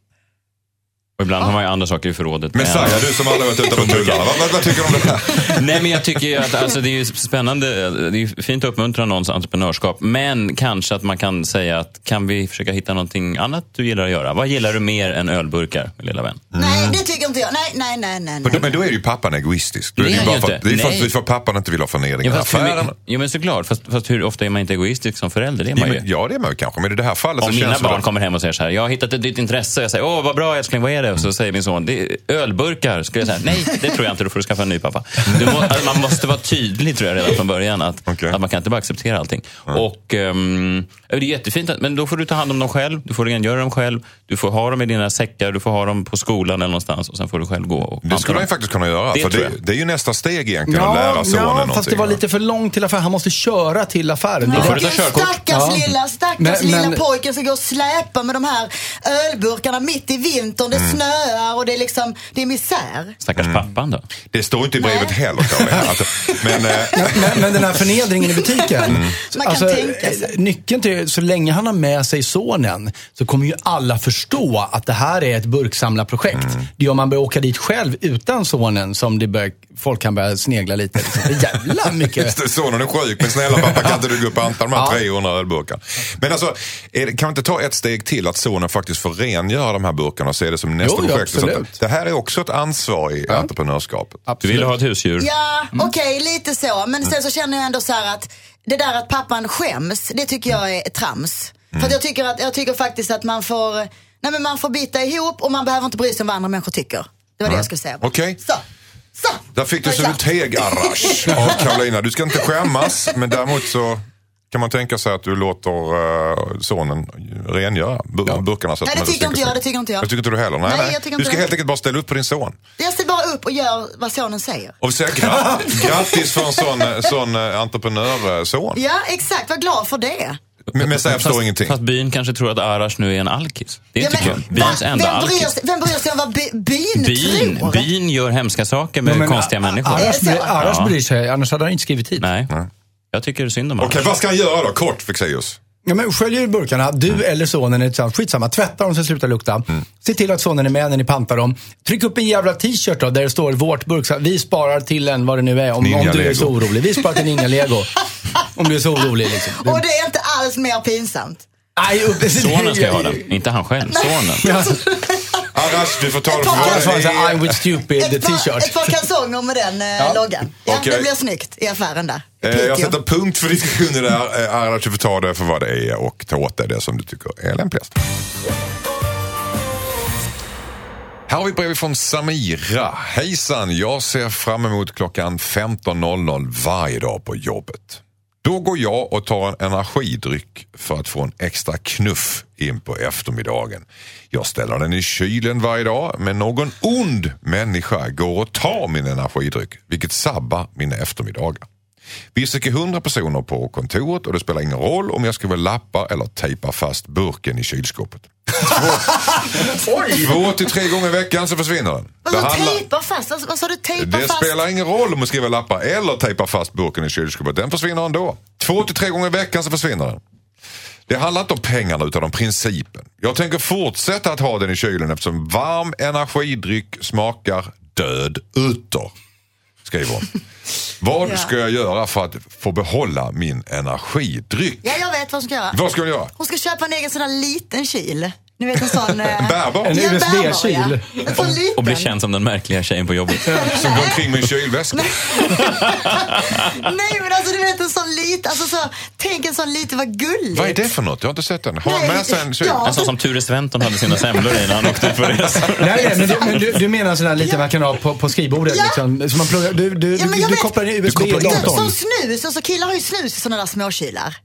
S2: och ibland har man ju andra saker i förrådet.
S3: Men
S2: än-
S3: Saja, du som aldrig varit utanför tullarna, vad, vad, vad tycker du om det här?
S2: Nej, men jag tycker ju att alltså, det är ju spännande. Det är ju fint att uppmuntra någons entreprenörskap. Men kanske att man kan säga att kan vi försöka hitta någonting annat du gillar att göra? Vad gillar du mer än ölburkar, min lilla vän?
S4: Nej, det tycker inte jag. Nej, nej, nej, nej.
S3: Men
S4: nej.
S3: då, men då är ju pappan egoistisk. Då är
S2: Det är
S3: det, ju
S2: han
S3: bara
S2: ju
S3: för,
S2: inte.
S3: det är för,
S2: Nej.
S3: att- för att pappan inte vill ha förnedring i
S2: fast hur,
S3: affären.
S2: jo, men såklart. Fast, fast hur ofta är man inte egoistisk som förälder? Det är
S3: Ja,
S2: man ju.
S3: men- Ja, det är man ju kanske, men i det här fallet
S2: Om
S3: så
S2: mina
S3: känns det...
S2: barn kommer hem och säger så här, jag har hittat ett nytt intresse. Jag säger, åh vad bra älskling, vad är det? Och så säger min son, det är ölburkar. Skulle jag säga, nej det tror jag inte, då får du skaffa en ny pappa. Du må, alltså, man måste vara tydlig tror jag redan från början. Att,
S3: Okej.
S2: att man kan inte bara acceptera allting. Och ehm, Det är jättefint, att- men då får du ta hand om dem själv. Du får rengöra dem själv. Du får ha dem i dina säckar. Du får ha dem på skolan eller någonstans. Och sen får du själv gå och
S3: Det
S2: panta
S3: skulle
S2: dem.
S3: han ju faktiskt kunna göra.
S2: Det
S3: för
S2: tror
S3: det,
S2: jag.
S3: det är ju nästa steg egentligen, att lära sonen
S1: ja,
S3: någonting.
S1: fast det var lite för långt till affären. Han måste köra till affären.
S4: Men
S1: Det är
S2: du ta
S4: vilken
S2: körkort?
S4: stackars
S1: Ja.
S4: lilla, stackars
S1: Men-
S4: lilla
S1: men-
S4: pojken som går och släpar med de här ölburkarna mitt i vintern. Det
S3: Mm.
S4: snöar och det är liksom, det är misär.
S2: Stackars pappan då.
S3: Det står inte i brevet
S4: Nej.
S3: heller, Karin. Alltså, men, eh,
S1: (laughs) Men, men den här förnedringen i butiken.
S2: Mm.
S4: kan tänka sig.
S1: eh, Nyckeln till, så länge han har med sig sonen så kommer ju alla förstå att det här är ett burksamlarprojekt.
S2: Mm.
S1: Det är om man börjar åka dit själv utan sonen som det bör, folk kan börja snegla lite. Liksom. Det är jävla mycket.
S3: Just det, sonen är sjuk, men snälla pappa kan inte du gå upp och anta de här
S1: Ja.
S3: 300 ölburkarna? Men alltså, är det, kan vi inte ta ett steg till att sonen faktiskt får rengöra de här burkarna och se det som nästa
S1: Jo, ja,
S3: projekt? Så att
S1: absolut.
S3: det här är också ett ansvar i entreprenörskapet.
S2: (laughs) Du vill ha ett husdjur.
S4: Ja,
S3: Mm.
S4: okej, lite så. Men sen så känner jag ändå så här att det där att pappan skäms, det tycker jag är trams.
S3: Mm.
S4: För att jag, tycker att, jag tycker faktiskt att man får, nej men man får bita ihop och man behöver inte bry sig om vad andra människor tycker. Det var det jag skulle säga.
S3: Okej.
S4: Så. Så.
S3: Där fick du
S4: Så.
S3: som en teg Arash
S4: (laughs)
S3: av Karolina. Du ska inte skämmas, men däremot så kan man tänka sig att du låter eh, sonen rengöra bur- burkarna. Så att
S4: Nej, det
S3: de
S4: tycker inte jag,
S3: sig.
S4: det tycker inte jag.
S3: Det tycker inte du heller? Nej,
S4: Nej,
S3: nej.
S4: jag tycker
S3: du
S4: inte
S3: ska
S4: det.
S3: helt enkelt bara ställa upp på din son.
S4: Jag ställer bara upp och gör vad sonen säger.
S3: Och vi säger gra- grattis för en sån, eh, sån eh, entreprenörson.
S4: Ja, exakt. Var glad för det.
S3: Men, men säg jag förstår
S2: Fast,
S3: ingenting.
S2: fast byn kanske tror att Arash nu är en alkis. Det är inte
S4: men,
S2: kul.
S4: va?
S2: Byns enda
S4: vem, bryr
S2: alkis.
S4: sig, vem bryr sig om vad by, byn,
S2: Byn,
S4: tror?
S2: byn gör hemska saker med
S1: Men
S2: konstiga
S1: a-
S2: människor.
S1: Annars, blir- annars
S2: Ja.
S1: bryr sig, annars hade han inte skrivit hit.
S2: Nej. Jag tycker synd om
S3: Okej,
S2: honom.
S3: vad ska han göra då? Kort Fexeus.
S1: Ja, men skölj ur burkarna, du eller sonen är tillsammans. Skitsamma, tvätta dem så det slutar lukta. Se till att sonen är med när ni pantar dem. Tryck upp en jävla t-shirt då, där det står vårt burk. Vi sparar till en, vad det nu är, om, om
S3: Ninja
S1: du är så
S3: Lego.
S1: orolig. Vi sparar till Ninja Lego. om du är så orolig. Liksom. Det-
S4: Och det är inte alls mer pinsamt.
S1: Nej, upp-
S2: Sonen ska ha den, inte han själv. Sonen.
S1: Ja,
S3: Arash, du får ta det
S4: Ett par-
S1: så han
S3: för
S1: säger, I'm
S3: vad det
S1: with stupid
S4: Ett par, ett
S1: t-shirt.
S4: par kalsonger med den eh, loggan. Ja,
S3: Okej.
S4: Det blir snyggt i affären där.
S3: Eh,
S4: Piteå.
S3: jag sätter punkt för diskussioner där. Eh, Ardac, du får ta det för vad det är och ta åt dig det som du tycker är lämpligast. Här har vi ett brev från Samira. Hejsan, jag ser fram emot klockan 15.00 varje dag på jobbet. Då går jag och tar en energidryck för att få en extra knuff in på eftermiddagen. Jag ställer den i kylen varje dag, men någon ond människa går och tar min energidryck, vilket sabbar mina eftermiddagar. Vi är cirka 100 personer på kontoret och det spelar ingen roll om jag skriver lappar eller tejpar fast burken i
S4: (laughs)
S3: kylskåpet. Två till tre gånger i veckan så försvinner den.
S4: Vadå
S3: Det handlar-
S4: tejpa fast? Vad- Vad sa du tejpa
S3: det
S4: fast?
S3: spelar ingen roll om man skriver lappar eller tejpar fast burken i kylskåpet. Den försvinner ändå. Två till tre gånger i veckan så försvinner den. Det handlar inte om pengarna utan om principen. Jag tänker fortsätta att ha den i kylen eftersom varm energidryck smakar död utter. Skriver hon. Vad
S4: Ja.
S3: ska jag göra för att få behålla min energidryck?
S4: Ja, jag vet vad hon ska göra.
S3: Vad ska jag göra?
S4: Hon ska köpa en egen sån där liten kyl. Ni vet en sån... eh,
S3: Bärbar?
S4: ja,
S1: En
S4: en
S1: USB-kyl.
S4: bärbar, ja. En sån liten.
S2: Och bli känd som den märkliga tjejen på jobbet.
S3: Som går omkring med en kylväska?
S4: Nej men alltså du vet en sån liten, alltså så, tänk en sån liten, vad gulligt.
S3: Vad är det för något? Jag har inte sett den. Har han med sig en kyl?
S4: Ja.
S2: En sån Alltså, som Ture Sventon hade sina semlor i när han åkte ut på resor.
S1: Nej, nej, men du, men du, du menar sådär lite man kan ha på, på skrivbordet
S4: Ja.
S1: liksom. Så man pluggar, du, du,
S4: Ja, men
S1: du,
S4: jag
S1: du
S4: vet.
S1: kopplar in
S3: Du kopplar in
S1: USB-datorn.
S4: Som Liksom, snus, alltså killar har ju snus i såna där småkylar.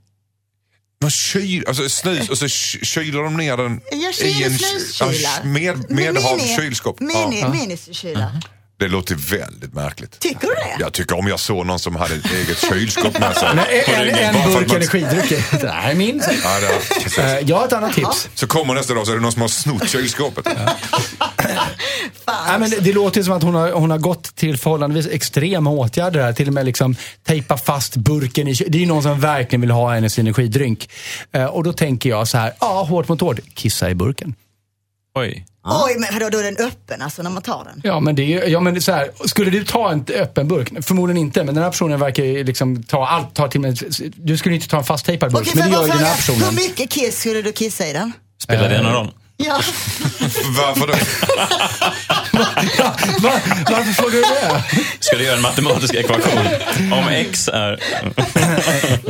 S3: Man kyl, alltså snus och så ky- kyler de ner den
S4: Jag kyler
S3: ky-
S4: snuskylar.
S3: ja, Med, med hav, kylskåp.
S4: Mini,
S3: Ja. Mm.
S4: Minikylar.
S3: Det låter väldigt märkligt.
S4: Tycker du det?
S3: Jag tycker om jag såg någon som hade ett eget kylskåp med sig.
S1: Nej,
S3: på
S1: en,
S3: ryggen,
S1: en,
S3: bara för att
S1: burk
S3: man-
S1: energidryck. Nej, min.
S3: Ja, det har-
S1: Eh, Jag har ett annat tips.
S3: Så kommer nästa dag så är det någon som har snott kylskåpet.
S4: Fan.
S1: Nej, men det, det låter ju som att hon har, hon har gått till förhållandevis extrema åtgärder här. Till och med liksom tejpa fast burken i kö- Det är ju någon som verkligen vill ha hennes energidrink. Eh, och då tänker jag så här, ja, hårt mot hårt, kissa i burken.
S2: Oj.
S4: Oj, men vadå, då är den öppen alltså när man tar den?
S1: Ja, men det är ju- ja, men det är så här, skulle du ta en öppen burk? Förmodligen inte, men den här personen verkar ju liksom ta allt. Ta till och med, du skulle ju inte ta en fasttejpad burk,
S4: Okej,
S1: men
S4: får
S1: det
S4: jag
S1: gör ju
S4: bara
S1: den här
S4: fråga,
S1: personen.
S4: Hur mycket kiss skulle du kissa i den?
S2: Spelar det någon roll?
S4: Ja,
S3: Varför då?
S1: Va- varför frågar du det?
S2: Ska du göra en matematisk ekvation? Om x är...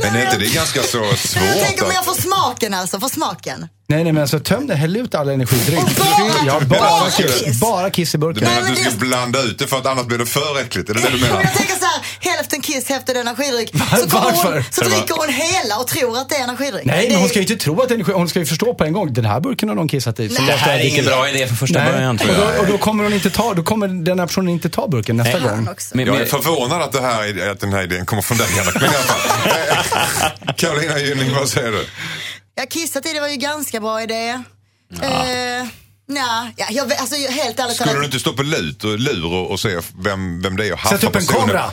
S3: Men är inte det ganska så
S4: (laughs) jag
S3: svårt?
S4: tänker om
S3: att-
S4: jag får smaken alltså, får smaken.
S1: Nej, nej, men alltså töm det. Häll ut all energidryck.
S4: Och bara-
S1: ja,
S4: bara
S1: bara,
S4: kiss.
S1: kiss. bara kiss i
S3: Du
S1: burken.
S3: menar
S4: Nej,
S3: att du
S4: men
S3: ska
S4: det-
S3: blanda ut det för att annars blir det för äckligt? Är det det du
S4: Men
S3: menar?
S4: jag tänker så här, hälften kiss,
S1: (laughs)
S4: hälften energidryck. Så, kommer hon,
S1: varför?
S4: så dricker hon hela och tror att det är energidryck.
S1: Nej,
S4: det
S1: men
S4: är-
S1: hon ska ju inte tro att energi, hon ska ju förstå på en gång. Den här burken har någon kissat i. Så
S2: Det
S1: måste
S2: här
S1: jag
S2: är
S1: dricka
S2: ingen bra idé från första
S1: Nej.
S2: början tror
S1: och,
S2: jag.
S1: då, och då kommer hon inte ta, då kommer den här personen inte ta burken nästa
S2: Nej.
S1: gång.
S4: också.
S2: Men,
S3: Jag är
S2: men,
S3: förvånad att, det här, att den här idén kommer från dig, Henrik. Men i alla fall.
S4: (laughs)
S3: Eh, Carolina Gynning, vad säger du?
S4: Jag kissat i det var ju ganska bra idé. Eh, nja, ja, jag, vet- alltså, jag- helt ärligt
S3: Skulle
S4: talat-
S3: du inte stå på lut och lur och, och se vem, vem det är och haffa
S1: Sätt upp en
S3: personen?
S1: kamera.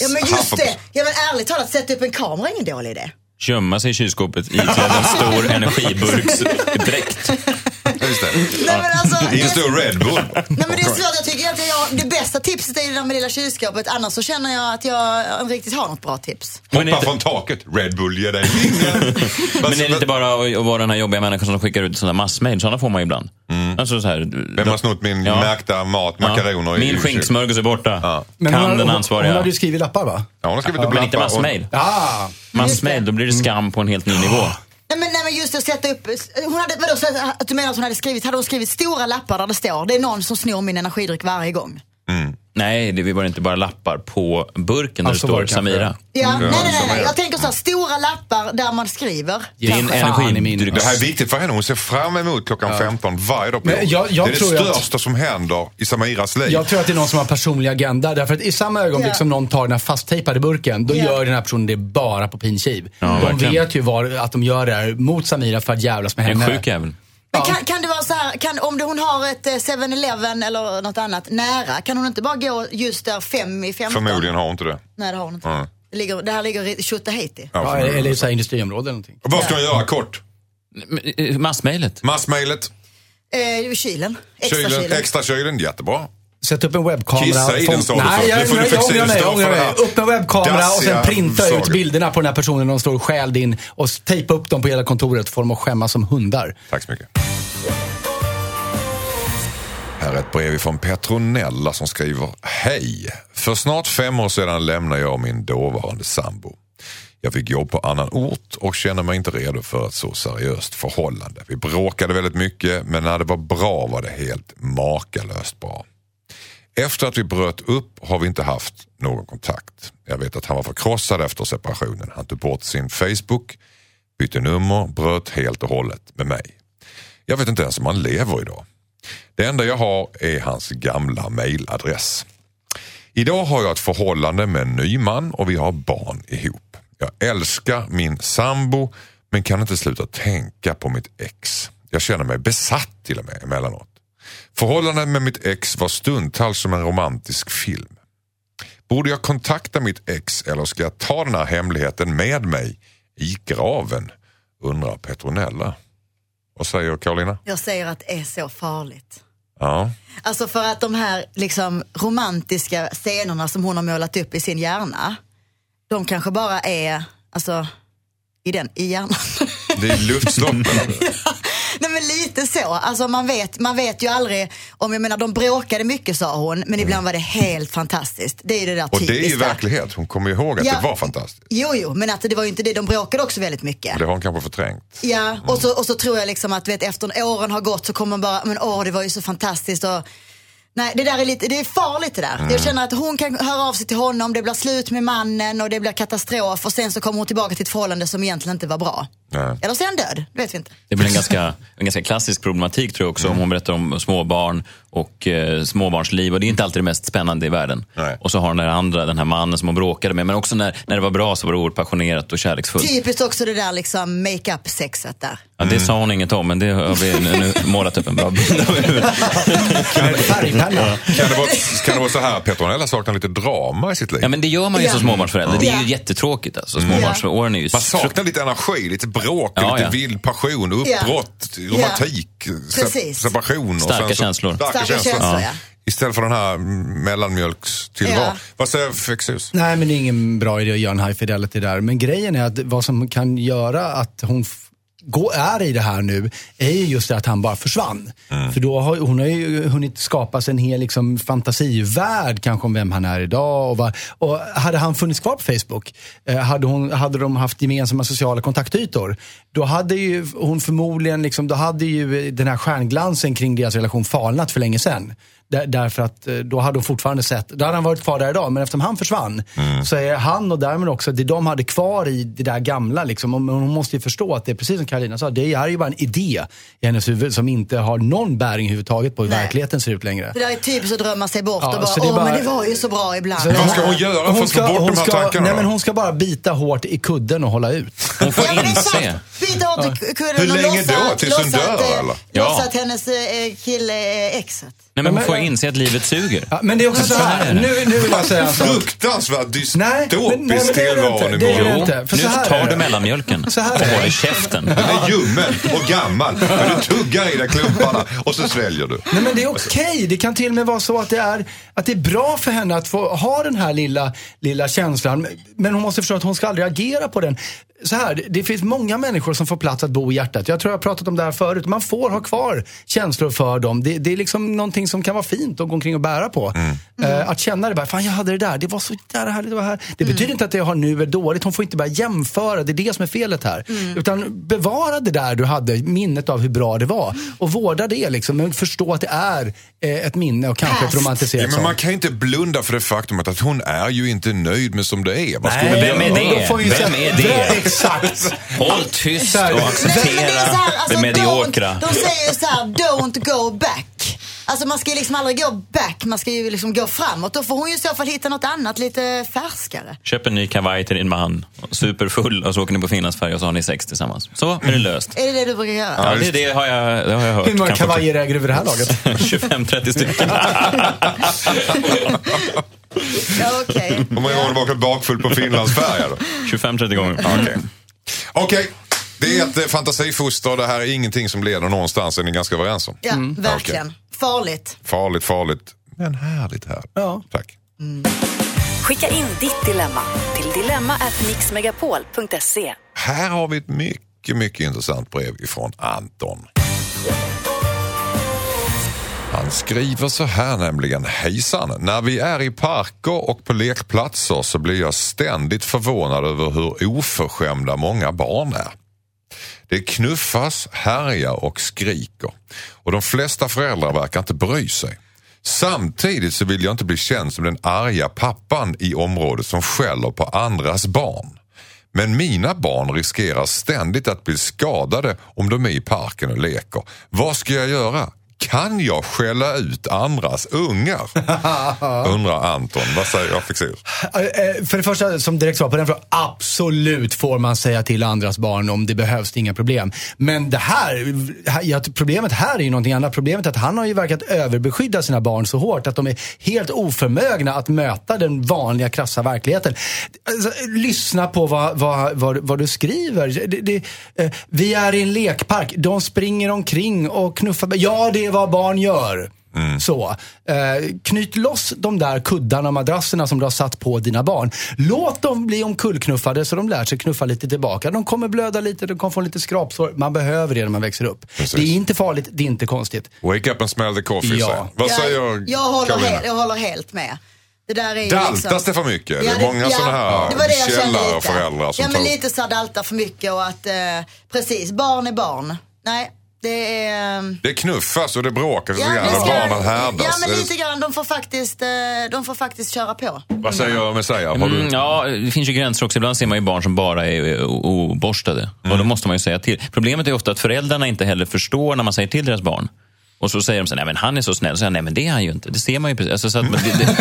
S4: Ja men
S3: Haffa
S4: just
S3: pers-
S4: det, ja, men ärligt talat sätta upp en kamera är ingen dålig idé.
S2: gömma sig i kylskåpet iklädd en stor energiburksdräkt.
S3: Just det.
S4: Nej, men alltså,
S3: I en
S4: det,
S3: stor Red Bull.
S4: nej men det är svårt, jag tycker egentligen jag, det bästa tipset är det där med lilla kylskåpet annars så känner jag att jag inte riktigt har något bra tips.
S2: Men är
S3: Hoppa
S2: det-
S3: från taket. Red Bull ger dig ingen.
S2: Men är det inte bara att att vara den här jobbiga människan som skickar ut sådana massmejl? Sådana får man ju ibland. Alltså så här,
S3: Mm. Vem har snott min
S2: Ja.
S3: märkta mat,
S2: Ja.
S3: makaroner? i
S2: Min
S3: kyl?
S2: skinksmörgås är borta.
S1: Men
S2: Kan
S1: hon har-
S2: den
S1: Hon, hon
S2: ansvariga?
S1: hade ju skrivit lappar va?
S3: Ja, hon har skrivit upp
S2: Men inte
S3: lappar och-
S2: massmejl.
S1: Ah.
S2: Massmejl, då blir det skam på en helt ny nivå.
S4: Nej men, nej men just det, sätta upp, hon hade, vadå, så att- att du menar att hon hade skrivit, hade hon skrivit stora lappar där det står det är någon som snor min energidryck varje gång?
S2: Nej, det var inte bara lappar på burken där
S1: Alltså,
S2: det
S1: var det kanske.
S2: står Samira.
S4: Ja, nej, nej, nej,
S3: som är-
S4: nej. Jag tänker så här, stora lappar där man skriver.
S2: Din
S1: Fan i min-
S2: energidryck.
S3: Det här är viktigt för henne. Hon ser fram emot klockan 15 varje dag på
S1: Men jag- jag
S3: Det är
S1: tror
S3: det
S1: jag att-
S3: största som händer i Samiras liv.
S1: Jag tror att det är någon som har personlig agenda. Därför att i samma ögonblick
S4: Ja.
S1: som någon tar den här fasttejpade burken, då
S4: Ja.
S1: gör den här personen det bara på pinkiv. de
S2: verkligen.
S1: vet ju var, att de gör det här mot Samira för att jävlas med
S2: En
S1: henne.
S2: sjuk jävel.
S4: Men kan, kan det vara så här, kan, om det, hon har ett eh, 7-Eleven eller något annat nära, kan hon inte bara gå just där fem i 15?
S3: Förmodligen har hon inte det.
S4: Nej, det har hon inte.
S3: Mm.
S4: Det, ligger, det här ligger i Tjotahejti.
S3: Ja,
S1: Ja,
S3: förmodligen.
S1: eller i så här industriområde eller någonting.
S3: Och Vad ska hon göra kort?
S2: Men, eh, Massmejlet.
S3: Massmejlet,
S4: Eh, I kylen. Extra kylen.
S3: kylen, extrakylen, jättebra.
S1: Sätt upp en webbkamera.
S3: Kissa i den,
S1: Fång-
S3: sa du först.
S1: Nej,
S3: Nu
S1: jag,
S3: får du
S1: jag, jag
S3: flexibelt
S1: ångrar mig.
S3: stå
S1: Jag ångrar
S3: för det
S1: mig.
S3: här.
S1: Upp en webbkamera och
S3: Dassiga
S1: sen printa ut
S3: saker.
S1: bilderna på den här personen när de står och stjäl din och s- tejpa upp dem på hela kontoret och få dem att skämmas som hundar.
S3: Tack så mycket. Här är ett brev från Petronella som skriver Hej! För snart fem år sedan lämnade jag min dåvarande sambo. Jag fick jobb på annan ort och kände mig inte redo för ett så seriöst förhållande. Vi bråkade väldigt mycket men när det var bra var det helt makalöst bra. Efter att vi bröt upp har vi inte haft någon kontakt. Jag vet att han var förkrossad efter separationen. Han tog bort sin Facebook, bytte nummer, bröt helt och hållet med mig. Jag vet inte ens om han lever idag. Det enda jag har är hans gamla mailadress. Idag har jag ett förhållande med en ny man och vi har barn ihop. Jag älskar min sambo men kan inte sluta tänka på mitt ex. Jag känner mig besatt till och med emellanåt. Förhållandet med mitt ex var stundtals som en romantisk film. Borde jag kontakta mitt ex eller ska jag ta den här hemligheten med mig i graven? Undrar Petronella. Vad säger Karolina?
S4: Jag säger att det är så farligt.
S3: Ja.
S4: Alltså för att de här liksom, romantiska scenerna som hon har målat upp i sin hjärna, de kanske bara är alltså, i, den, i hjärnan. (laughs)
S3: Det är luftsloppen.
S4: Nej men lite så. Alltså man vet, man vet ju aldrig, om jag menar de bråkade mycket sa hon, men ibland var det helt fantastiskt. Det är ju det där
S3: Mm. Och det är ju
S4: typiska.
S3: verklighet. Hon kommer ju ihåg att
S4: Ja.
S3: det var fantastiskt.
S4: Jo, jo, men att det var ju inte det. De bråkade också väldigt mycket.
S3: Det har hon kanske förträngt.
S4: Ja, och så, och så tror jag liksom att vet, efter åren har gått så kommer man bara, men åh det var ju så fantastiskt och Nej, det där är lite, det är farligt det där.
S3: Mm.
S4: Jag känner att hon kan höra av sig till honom, det blir slut med mannen och det blir katastrof och sen så kommer hon tillbaka till ett förhållande som egentligen inte var bra.
S3: Nej.
S4: Eller så är han död, det vet vi inte.
S2: Det blir en ganska, en ganska klassisk problematik tror jag också om hon berättar om småbarn och eh, småbarnsliv. Och det är inte alltid det mest spännande i världen.
S3: Nej.
S2: Och så har hon den här andra, den här mannen som hon bråkade med. Men också när, när det var bra så var det oerhört passionerat och kärleksfullt.
S4: Typiskt också det där liksom make-up-sexet där.
S2: Ja, det sa hon inget om, men det har vi nu, nu målat upp en bra bild av.
S1: Färgpenna.
S3: Kan det, vara, kan det vara så här Petronella saknar lite drama i sitt liv?
S2: Ja, men det gör man ju
S4: Ja.
S2: som småbarnsförälder. Det är
S4: Ja.
S2: ju jättetråkigt. Alltså. Småbarnsåren är ju...
S3: Man
S2: frukt-
S3: saknar lite energi, lite bråk,
S2: Ja,
S3: lite
S2: ja.
S3: vild passion, uppbrott, romantik, se-
S4: Precis.
S3: separation. Och
S2: Starka
S3: sen
S2: känslor.
S3: Starka,
S4: Starka
S3: känslor.
S4: känslor, ja.
S3: Istället för den här mm, mellanmjölkstillvaron.
S4: Ja.
S3: Vad säger Fexeus?
S1: Nej, men det är ingen bra idé att göra en high fidelity där. Men grejen är att vad som kan göra att hon f- gå, är i det här nu är ju just det att han bara försvann. För då har hon har ju hunnit skapa sig en hel liksom, fantasivärld kanske om vem han är idag. Och vad, och hade han funnits kvar på Facebook, eh, hade, hon, hade de haft gemensamma sociala kontaktytor, då hade ju hon förmodligen, liksom, då hade ju den här stjärnglansen kring deras relation falnat för länge sedan. Där, därför att eh, då hade hon fortfarande sett, då hade han varit kvar där idag, men eftersom han försvann
S3: Mm.
S1: så är han och därmed också det de hade kvar i det där gamla. Liksom. Och men hon måste ju förstå att det är precis som Karolina sa, det är ju bara en idé i hennes huvud som inte har någon bäring överhuvudtaget på hur
S4: Nej.
S1: verkligheten ser ut längre.
S4: Det där är typiskt att drömma sig bort
S1: Ja,
S4: och
S1: så
S4: bara,
S1: det är
S4: åh
S1: bara-
S4: men det var ju så bra ibland.
S1: Så
S3: Vad ska hon göra för att få bort de här
S1: ska,
S3: tankarna
S1: nej,
S3: då?
S1: men Hon ska bara bita hårt i kudden och hålla ut.
S2: Hon får
S4: Ja, men exakt.
S2: inse.
S4: Byta åt kudden
S3: Hur
S4: och
S3: länge
S4: låtsas-
S3: då? Tills hon
S4: låtsas
S3: dör,
S4: att, eh,
S3: eller?
S2: Ja.
S4: Låtsas att hennes eh, kille är exet.
S2: Nej, men hon
S1: Men-
S2: får inse att livet suger.
S1: Ja, men det är också så här, nu, nu vill jag säga en sak.
S3: Fruktansvärt
S1: Nej, men- nej,
S3: dystopisk
S1: men det är det
S3: tillvaro
S1: inte.
S3: ni
S1: Det är
S3: bor
S1: det
S3: i.
S2: Jo,
S1: inte, för
S2: nu
S1: så här är
S2: tar du
S1: det.
S2: mellanmjölken
S1: Så här
S2: och
S1: är det.
S2: håller käften.
S3: Den är ljummen och gammal, men du tuggar i dig klumparna och så sväljer du.
S1: Nej men det är okej. Det kan till och med vara så att det, är, att det är bra för henne att få ha den här lilla, lilla känslan. Men hon måste förstå att hon ska aldrig agera på den. Så här, det finns många människor som får plats att bo i hjärtat. Jag tror jag har pratat om det här förut. Man får ha kvar känslor för dem. Det, det är liksom någonting som kan vara fint att gå omkring och bära på. Eh, att känna det bara, fan jag hade det där, det var så där härligt, det var här. Det betyder inte att det jag har nu är dåligt. Hon får inte börja jämföra, det är det som är felet här. Utan bevara det där du hade, minnet av hur bra det var. Och vårda det liksom, men förstå att det är eh, ett minne och kanske ett
S4: Past.
S3: Ja,
S1: romantiserat
S3: men man
S1: sånt.
S3: kan ju inte blunda för det faktumet att hon är ju inte nöjd med som det är. Vad ska
S2: Nej,
S3: hon
S2: vem är
S3: göra?
S2: det?
S1: Eh, Då får vi ju
S2: Vem
S1: säga-
S2: är det?
S1: Exakt.
S2: Håll tyst
S1: Så här.
S2: och
S4: Men- men det är så
S2: acceptera
S4: här, alltså,
S2: det mediokra.
S4: don't- De säger ju så här, don't go back. Alltså man ska ju liksom aldrig gå back, man ska ju liksom gå framåt. Då får hon ju i så fall hitta något annat lite färskare.
S2: Köp en ny kavaj till din man, superfull, och så åker ni på Finlandsfärja och så har ni sex tillsammans. Så är det löst.
S4: Är det det du brukar göra?
S2: Ja, det, det, har jag, det har jag hört.
S1: Hur många
S2: Kanske (laughs)
S1: kavajer äger du vid det här laget?
S2: 25-30
S4: (laughs)
S2: stycken. (laughs)
S4: Ja, okej.
S3: Hur många gånger har du varit bakfull på Finlandsfärja då?
S2: 25-30 gånger.
S3: Okej. Okej, det är ett eh, fantasifoster. Det här är ingenting som leder någonstans, är ni ganska överens om?
S4: Ja, verkligen. Farligt.
S3: Farligt, farligt. Men härligt här.
S1: Ja.
S3: Tack.
S5: Skicka in ditt dilemma till dilemma@mixmegapol.se.
S3: Här har vi ett mycket, mycket intressant brev ifrån Anton. Han skriver så här nämligen. Hejsan! När vi är i parker och på lekplatser så blir jag ständigt förvånad över hur oförskämda många barn är. Det knuffas, härjar och skriker. Och de flesta föräldrar verkar inte bry sig. Samtidigt så vill jag inte bli känd som den arga pappan i området som skäller på andras barn. Men mina barn riskerar ständigt att bli skadade om de är i parken och leker. Vad ska jag göra? Kan jag skälla ut andras ungar? Undrar Anton. Vad säger jag Fexeus?
S1: Eh, eh, För det första, som direkt svar på den frågan. Absolut får man säga till andras barn om det behövs, det är inga problem. Men det här, här- ja, problemet här är ju någonting annat. Problemet är att han har ju verkat överbeskydda sina barn så hårt att de är helt oförmögna att möta den vanliga krassa verkligheten. Alltså, lyssna på vad, vad, vad, vad du skriver. Det, det, eh, vi är i en lekpark, de springer omkring och knuffar. Ja, det är vad barn gör.
S2: Mm.
S1: Så, eh, knyt loss de där kuddarna och madrasserna som du har satt på dina barn. Låt dem bli omkullknuffade så de lär sig knuffa lite tillbaka. De kommer blöda lite, de kommer få lite skrapsår. Man behöver det när man växer upp. Det är inte farligt, det är inte konstigt.
S3: Wake up and smell the coffee,
S1: Ja.
S3: säger Vad säger
S4: jag, jag, håller
S3: Karolina?
S4: helt, jag håller helt med. Det där är ju
S3: Daltas
S4: liksom...
S3: det för mycket? det
S4: Ja,
S3: är många sådana här
S4: det var det jag kände
S3: källare
S4: lite.
S3: och föräldrar som
S4: Ja,
S3: tar
S4: men
S3: upp
S4: lite så här dalta för mycket och att, eh, precis, barn är barn. Nej, det är... ehm,
S3: Det knuffas och det bråkas
S4: Ja,
S3: och
S4: men ska-
S3: barnen härdas.
S4: ja,
S3: Är
S4: men
S3: det-
S4: lite grann. De får faktiskt, eh, de får faktiskt köra på.
S3: Vad säger Messiah? Har du...
S2: Mm, ja, det finns ju gränser också. Ibland ser man ju barn som bara är eh, o- oborstade. Och då måste man ju säga till. Problemet är ofta att föräldrarna inte heller förstår när man säger till deras barn. Och så säger de så här, nej men han är så snäll. Så säger jag, nej men det är han ju inte. Det ser man ju precis. Alltså, så att, det, det,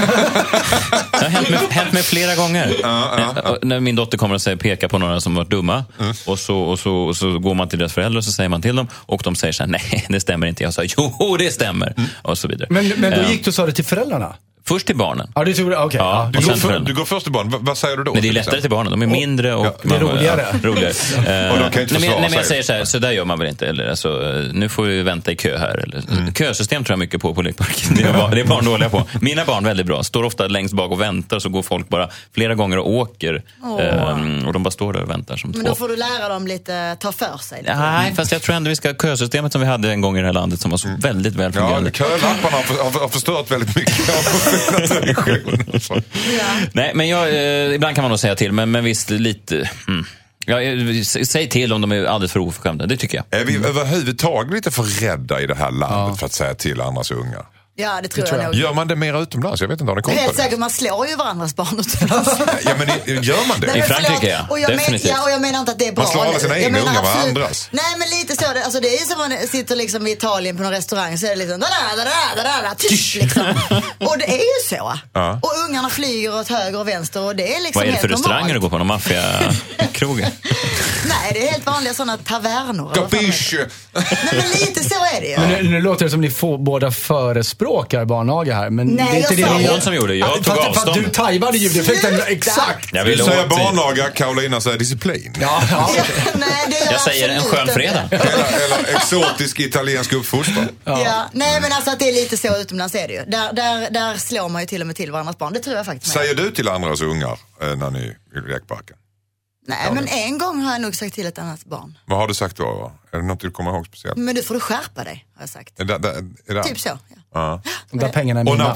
S2: det har hänt mig, hänt mig flera gånger. När- När min dotter kommer och säger, pekar på några som varit dumma. Och, så, och, så, och så går man till deras föräldrar och så säger man till dem. Och de säger så här, nej det stämmer inte. Jag sa, jo det stämmer. Och så vidare.
S1: Men, men då
S2: Eh,
S1: gick du och sa det till föräldrarna?
S2: Först till barnen.
S1: Ja, det tror jag. Okej.
S2: Ja,
S1: ja.
S3: Du, går
S2: sen
S3: för,
S2: föräldrar.
S3: du går först till barn. V- vad säger du då?
S2: Men det är lättare till barnen. De är mindre och...
S1: det är
S2: man-
S1: roligare.
S2: Ja, roligare. Eh,
S3: (laughs) Och de kan inte
S2: nej, men,
S3: försvara
S2: nej, men jag
S3: sig.
S2: säger så här, så där gör man väl inte. Eller, alltså, eh, nu får vi vänta i kö här. Eller,
S3: Mm.
S2: Kösystem tror jag mycket på på lekparken. Det är, barn, det är barn dåliga på. Mina barn väldigt bra. Står ofta längst bak och väntar så går folk bara flera gånger och åker. Eh, och de bara står där och väntar som
S4: Men
S2: två.
S4: då får du lära dem lite, ta för sig. lite.
S2: Nej, fast jag tror ändå vi ska ha kösystemet som vi hade en gång i det här landet som var så väldigt väl
S3: Mm. Ja,
S2: fungerande.
S3: kölapparna har, för- har, har förstört väldigt mycket av vår generation. Så.
S2: Nej, men jag, eh, ibland kan man nog säga till, men, men visst lite... Mm. Ja, eh, s- säg till om de är alldeles för oförskämda, det tycker jag.
S3: Är vi överhuvudtaget lite för rädda i det här landet för att säga till andras ungar?
S4: Ja, det tror,
S1: tror
S4: jag,
S1: jag.
S4: nog.
S3: Gör man det mer utomlands? Jag vet inte, har ni koll
S4: Jag är
S3: på
S4: helt
S3: det?
S4: säker, man slår ju varandras
S3: (laughs)
S4: barn utomlands.
S3: Ja, men i- gör man
S4: Nej,
S3: det?
S4: men
S2: I Frankrike,
S4: förlåt.
S2: ja.
S4: Och jag, men,
S2: Definitivt.
S4: ja, och jag menar inte att det är bra.
S3: slår alla sina
S4: Jag
S3: egna
S4: menar
S3: ungar med
S4: absolut-
S3: andras.
S4: Nej, men lite så. Det- Alltså, det är ju som om man sitter liksom i Italien på någon restaurang så är det liksom da da da da da da tysch, liksom.
S3: (laughs)
S4: Och det är ju så.
S3: Ja.
S4: Och ungarna flyger åt höger och vänster och det är liksom
S2: Vad är det för
S4: helt
S2: restauranger du
S4: normalt.
S2: går på? Någon maffiakroge?
S4: Nej, det är helt vanliga sådana tavernor. eller vad fan det heter.
S3: Kapisch!
S4: Nej, men lite så är det ju.
S1: Men nu, nu låter det som ni får båda förespråkar barnaga här. Men
S4: Nej,
S1: det är inte
S4: jag
S1: det
S4: sa
S1: ni
S4: det.
S1: gör.
S2: Någon som gjorde det. Jag
S1: Fast-
S2: tog
S1: fast
S2: avstånd.
S1: Du tajmade ljudeffekten
S4: Sluta!
S1: exakt.
S2: Jag
S3: Du
S2: vill
S3: säger
S2: åt till-
S3: barnaga, Karolina säger disciplin.
S1: Ja, ja.
S4: (laughs) Nej, det gör
S2: Jag säger en
S4: absolut
S2: skön
S4: inte.
S2: fredag.
S3: Eller, eller exotisk italiensk uppfostran.
S4: Ja. Nej men alltså att det är lite så utomlands är det ju. Där, där, där slår man ju till och med till varandras barn. Det tror jag faktiskt med.
S3: Säger du till andras ungar eh, när ni är i lekparken?
S4: Nej men en gång har jag nog sagt till ett annat barn.
S3: Vad har du sagt då? Är det något du kommer ihåg speciellt?
S4: Men nu får du skärpa dig har jag sagt.
S3: Är det, det, är det?
S4: Mm. Typ så. Ja.
S3: Ja.
S1: De där pengarna är
S3: Och, när,
S1: mina.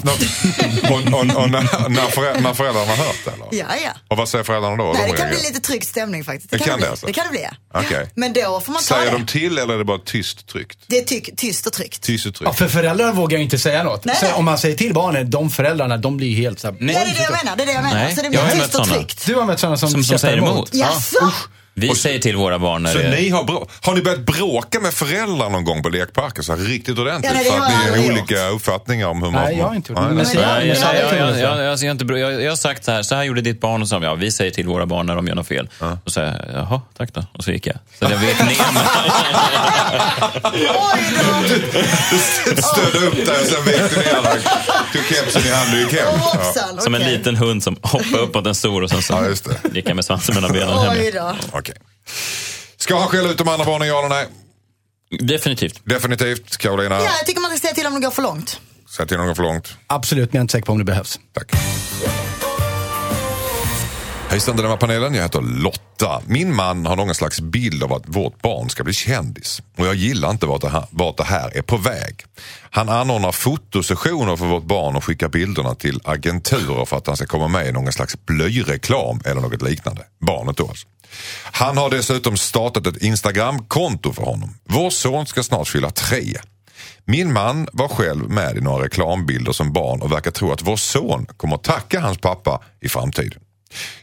S1: (laughs)
S3: när, och, och, och när, när, förä, när föräldrarna har hört det? Eller?
S4: Ja, ja.
S3: Och vad säger föräldrarna då?
S4: Nej,
S3: De
S4: det kan bli
S3: reagerar.
S4: lite tryckt stämning faktiskt.
S3: Det kan
S4: bli.
S3: det alltså?
S4: Det kan det bli ja.
S3: Okej.
S4: Men då får man ta
S3: Säger
S4: det.
S3: de till eller är det bara tyst tryckt?
S4: Det är ty- tyst och tryggt.
S3: Tyst och
S1: Ja,
S3: tryckt.
S1: för föräldrar vågar ju inte säga något.
S4: Nej,
S1: Så
S4: nej.
S1: om man säger till barnen, de föräldrarna, de blir ju helt så här,
S4: Ja, det är det jag menar. Det är det jag menar.
S2: Nej,
S4: Så det
S2: jag har
S4: blir
S2: mött
S4: tyst och
S2: såna.
S4: tryggt.
S1: Du har mött sådana som,
S2: Som, som
S1: käftar
S2: säger emot.
S4: Jaså?
S2: Vi säger till våra barn när
S3: Så
S2: det
S3: ni har, brå- har ni börjat bråka med föräldrar någon gång på lekparken? Så här, riktigt ordentligt?
S4: Ja, nej, det
S3: för
S4: har jag
S3: att ni har
S4: aldrig
S3: olika uppfattningar om hur man...
S1: Nej, jag har inte gjort det.
S3: Nej, (laughs)
S1: Men
S3: nej.
S1: säger
S2: Nej, jag,
S1: jag-
S2: jag, jag, jag,
S1: jag-
S2: jag, alltså jag, inte, bry- jag, jag har sagt så här, så här gjorde ditt barn och så, ja, vi säger till våra barn när de gör något fel. Och så säger jag, jaha, tack då. Och så gick jag. Så jag vek ner mig.
S3: (laughs)
S4: Oj då!
S3: Stödde upp dig och sen vek du ner dig. Tog kepsen i hand och gick hem.
S4: Och
S3: Ja.
S4: hoppsan.
S2: Som en
S4: okej.
S2: liten hund som hoppar upp mot en stor och sen så
S3: Ja, just det.
S2: gick jag med svansen mellan benen hem.
S4: Oj då.
S3: Okej. Ska han skälla ut de andra barnen, ja eller nej?
S2: Definitivt.
S3: Definitivt. Karolina,
S4: Ja, jag tycker man ska säga till om det går för långt.
S3: säg till någon för långt.
S1: Absolut, men jag är inte säker på om det behövs.
S3: Tack. Hejsan Dilemma-panelen, jag heter Lotta. Min man har någon slags bild av att vårt barn ska bli kändis. Och jag gillar inte vart det här, vart det här är på väg. Han anordnar fotosessioner för vårt barn och skickar bilderna till agenturer för att han ska komma med i någon slags blöjreklam eller något liknande. Barnet då alltså. Han har dessutom startat ett Instagram-konto för honom. Vår son ska snart fylla tre. Min man var själv med i några reklambilder som barn och verkar tro att vår son kommer tacka hans pappa i framtiden.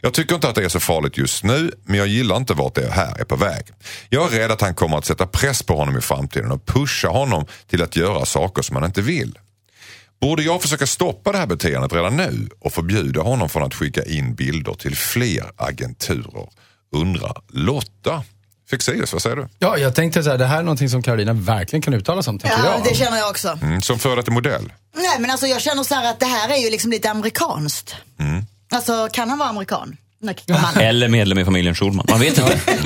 S3: Jag tycker inte att det är så farligt just nu, men jag gillar inte vart det här är på väg. Jag är rädd att han kommer att sätta press på honom i framtiden och pusha honom till att göra saker som han inte vill. Borde jag försöka stoppa det här beteendet redan nu och förbjuda honom från att skicka in bilder till fler agenturer? Undrar Lotta. Fexeus, vad säger du?
S1: Ja, jag tänkte så här, det här är någonting som Carolina verkligen kan uttala sig om, tänker
S4: Ja,
S1: jag.
S4: det känner jag också.
S3: Mm, som före detta modell.
S4: Nej men alltså jag känner så här att det här är ju liksom lite amerikanskt. Alltså kan han vara amerikan? Nej, man.
S2: Eller medlem i familjen Schulman. Man vet inte.
S4: (laughs)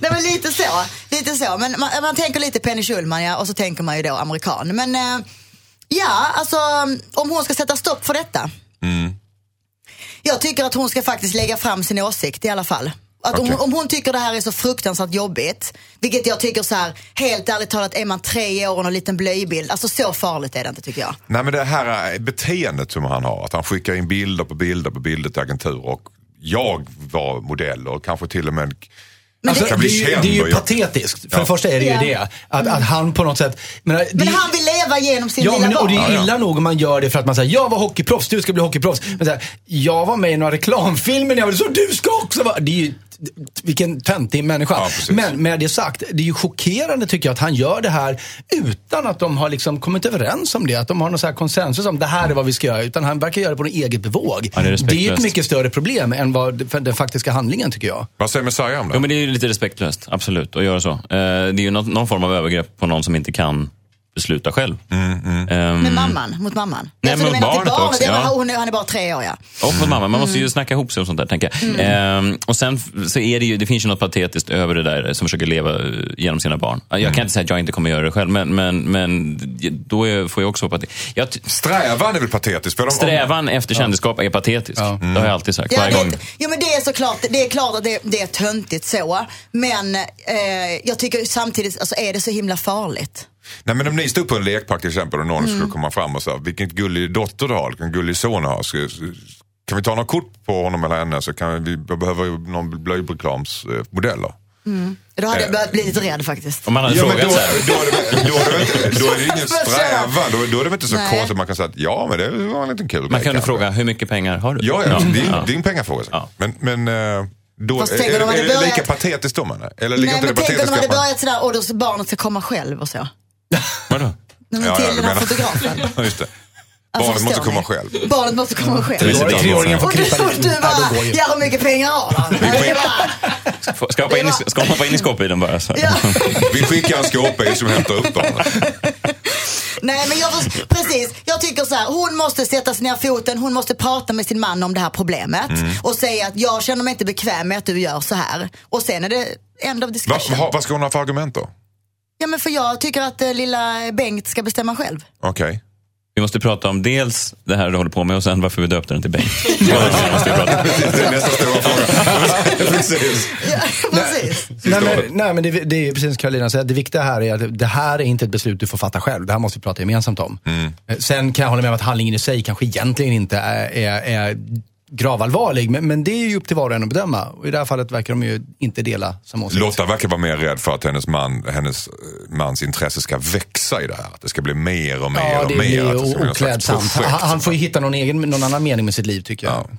S4: Nej men lite så. Lite så. Men man, man tänker lite Penny Schulman ja, och så tänker man ju då amerikan. Men eh, ja, alltså om hon ska sätta stopp för detta. Jag tycker att hon ska faktiskt lägga fram sin åsikt i alla fall. Att om,
S3: Okej.
S4: om hon tycker det här är så fruktansvärt jobbigt, vilket jag tycker så här, helt ärligt talat, är man tre år och en liten blöjbild, alltså så farligt är det inte tycker jag.
S3: Nej men det här eh, beteendet som han har, att han skickar in bilder på bilder på bilder till agenturer och jag var modell och kanske till och med
S4: Men
S3: kan
S1: Alltså,
S3: bli
S4: det-
S1: det, är ju,
S3: känd
S1: det är
S3: och
S1: ju
S3: jag-
S1: patetiskt. För
S3: Ja.
S1: det första är det ju
S4: Ja.
S1: det. Att, att han på något sätt... Men, det,
S4: Men han vill leva genom sin
S1: Ja,
S4: lilla
S1: men, och det
S4: barn.
S1: är
S3: Ja, ja.
S1: illa nog om man gör det för att man säger jag var hockeyproffs, du ska bli hockeyproffs. Men så här, jag var med i några reklamfilmer när jag var så du ska också vara. Det är ju, vilken töntig människa.
S3: Ja, precis.
S1: men med det sagt, det är ju chockerande tycker jag att han gör det här utan att de har liksom kommit överens om det. Att de har någon så här konsensus om det här är vad vi ska göra. Utan han verkar göra det på något eget bevåg.
S2: Ja, det är respektlöst.
S1: ju ett mycket större problem än vad det- för den faktiska handlingen tycker jag.
S3: Vad säger Messiah om det?
S2: Jo, men det är ju lite respektlöst, absolut, att göra så. Eh, det är ju någon, någon form av övergrepp på någon som inte kan besluta själv.
S3: Mm.
S2: Ehm,
S4: Med mamman, mot mamman.
S2: Nej,
S4: Alltså, du
S2: mot
S4: menar till
S2: barnet också,
S4: det var-
S2: ja.
S4: hon är- Han är bara tre år ja.
S2: Och för mamma, man måste
S3: Mm.
S2: ju snacka ihop sig om sånt där, tänker jag. Ehm, och sen f- så är det ju, det finns ju något patetiskt över det där som försöker leva eh, genom sina barn. Jag
S3: Mm.
S2: kan inte säga att jag inte kommer göra det själv, men, men, men då är, får jag också vara patetisk. Jag, ty-
S3: Strävan är väl patetisk? För de,
S2: strävan efter kändisskap är patetisk. Det
S3: Mm.
S2: har jag alltid sagt, varje
S4: Ja,
S2: gång.
S4: det, jo men det är såklart, det är klart att det, det är töntigt så. Men eh, jag tycker samtidigt, alltså är det så himla farligt?
S3: nej, men om ni stod på en lekpark till exempel och någon skulle komma fram och säga vilken gullig dotter du har, vilken gullig son du har. Ska, kan vi ta några kort på honom eller henne så kan vi, vi behöver ju någon blöjreklamsmodell. då.
S4: Då hade
S3: Eh.
S4: jag börjat bli lite rädd faktiskt.
S2: Om man hade
S3: Ja, men då,
S2: frågat
S3: då,
S2: så här.
S3: är det, då, är det, väl inte- då är det ingen strävan, då, då är det väl inte så
S4: Nej.
S3: konstigt att man kan säga att ja men det var en liten kul
S2: Man
S3: grej
S2: kan ju
S3: kanske.
S2: fråga, hur mycket pengar har du?
S3: Ja, ja, det är
S2: Ja.
S3: det är en pengafråga. säkert.
S2: Ja.
S3: Men, men eh, då,
S4: Mm. Fast
S3: är,
S4: tänk om de
S3: är,
S4: hade
S3: är det lika
S4: börjat-
S3: patetiskt då menar Eller ligger
S4: Nej
S3: inte det
S4: men tänk om de
S3: patetiska?
S4: hade
S3: att man-
S4: börjat sådär, och då så barnet ska komma själv och så. Nej,
S2: Vadå?
S4: men
S3: Ja, ja,
S4: till
S3: du
S4: den här
S3: menar-
S4: fotografen.
S3: (laughs)
S4: Alltså,
S3: Just det. Barnet
S4: förstår
S3: måste komma
S4: ni?
S3: själv. Mm.
S4: Barnet måste komma själv.
S3: Tre-
S1: Treåringen- Treåringen får
S4: Och du,
S1: krypa dit.
S4: du
S1: Ja, då
S4: bara,
S1: går ju.
S4: ja hur mycket pengar har han? Nej, det var-
S2: Få- Ska hoppa in i- ska man hoppa in i skåpbilen bara? Så.
S4: Ja.
S3: Vi skickar en skåpbil som hämtar upp barnet.
S4: Nej men jag, förs- precis, jag tycker så här, hon måste sätta sig ner foten, hon måste prata med sin man om det här problemet
S3: Mm.
S4: och säga att jag känner mig inte bekväm med att du gör så här. Och sen är det end of
S3: Va,
S4: discussion.
S3: va, vad ska hon ha för argument då?
S4: Ja men för jag tycker att eh, lilla Bengt ska bestämma själv.
S3: Okej.
S2: Vi måste prata om dels det här du håller på med och sen varför vi döpte den till Bengt.
S3: (laughs)
S2: Det måste vi prata om.
S3: Det är nästa stora fråga. Precis.
S4: Ja, (laughs)
S3: (laughs)
S4: precis.
S1: Nej
S3: ordet.
S1: men, nej, men det, det är ju precis som Carolina säger, det viktiga här är att det här är inte ett beslut du får fatta själv. Det här måste vi prata gemensamt om.
S3: Mm.
S1: Eh, Sen kan jag hålla med om att handlingen i sig kanske egentligen inte är, är, är gravallvarlig, men, men det är ju upp till var och en att bedöma. Och i det här fallet verkar de ju inte dela som åsikt.
S3: Lotta verkar vara mer rädd för att hennes, man, hennes eh, mans intresse ska växa i det här. Att det ska bli mer och mer
S1: Ja,
S3: och
S1: det
S3: mer.
S1: blir
S3: att det ska bli
S1: ju
S3: någon slags
S1: oklädsamt. Han,
S3: projekt.
S1: han får ju hitta någon, egen, någon annan mening med sitt liv tycker jag.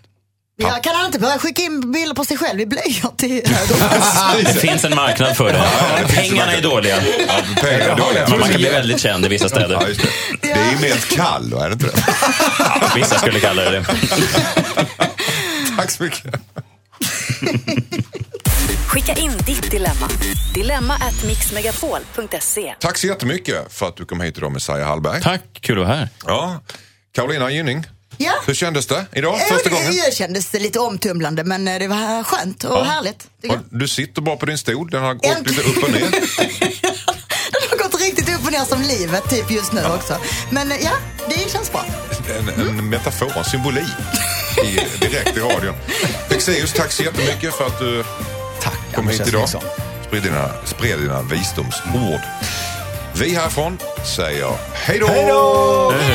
S4: Ja, kan han inte börja skicka in bilder på sig själv i blöjor
S3: (laughs)
S4: till höger?
S2: Det finns en marknad för det.
S3: det finns en
S2: Pengarna
S3: marknad.
S2: är dåliga.
S3: Ja, pengar är dåliga.
S2: Men man kan bli väldigt känd i vissa
S3: Ja,
S2: städer.
S3: just det. det är ju mer ett kall, då, är det inte det?
S4: (laughs)
S2: Vissa skulle kalla det det.
S3: Tack så mycket.
S5: Skicka in ditt dilemma. Dilemma at mixmegapol.se.
S3: Tack så jättemycket för att du kom hit idag Messiah Hallberg.
S2: Tack, kul att vara här.
S3: Ja. Carolina Gynning,
S4: Ja.
S3: hur kändes det idag?
S4: Ja,
S3: Första gången?
S4: Det kändes lite omtumlande men eh, det var skönt och härligt. tycker
S3: Och
S4: jag.
S3: Du sitter bara på din stol, den har gått
S4: Äntligen.
S3: lite upp och ner.
S4: (laughs) Det har gått riktigt upp och ner som livet typ just nu också. Men eh, ja, det känns bra.
S3: (laughs) En, en metafor, en symbolik. i, direkt i radion. Fexeus, tack så jättemycket för att du
S1: Tack,
S3: kom hit
S1: Anders
S3: idag.
S1: Nilsson.
S3: Sprid dina, spred dina visdomsord. Vi härifrån säger hej då!
S1: Hej då!
S2: Hej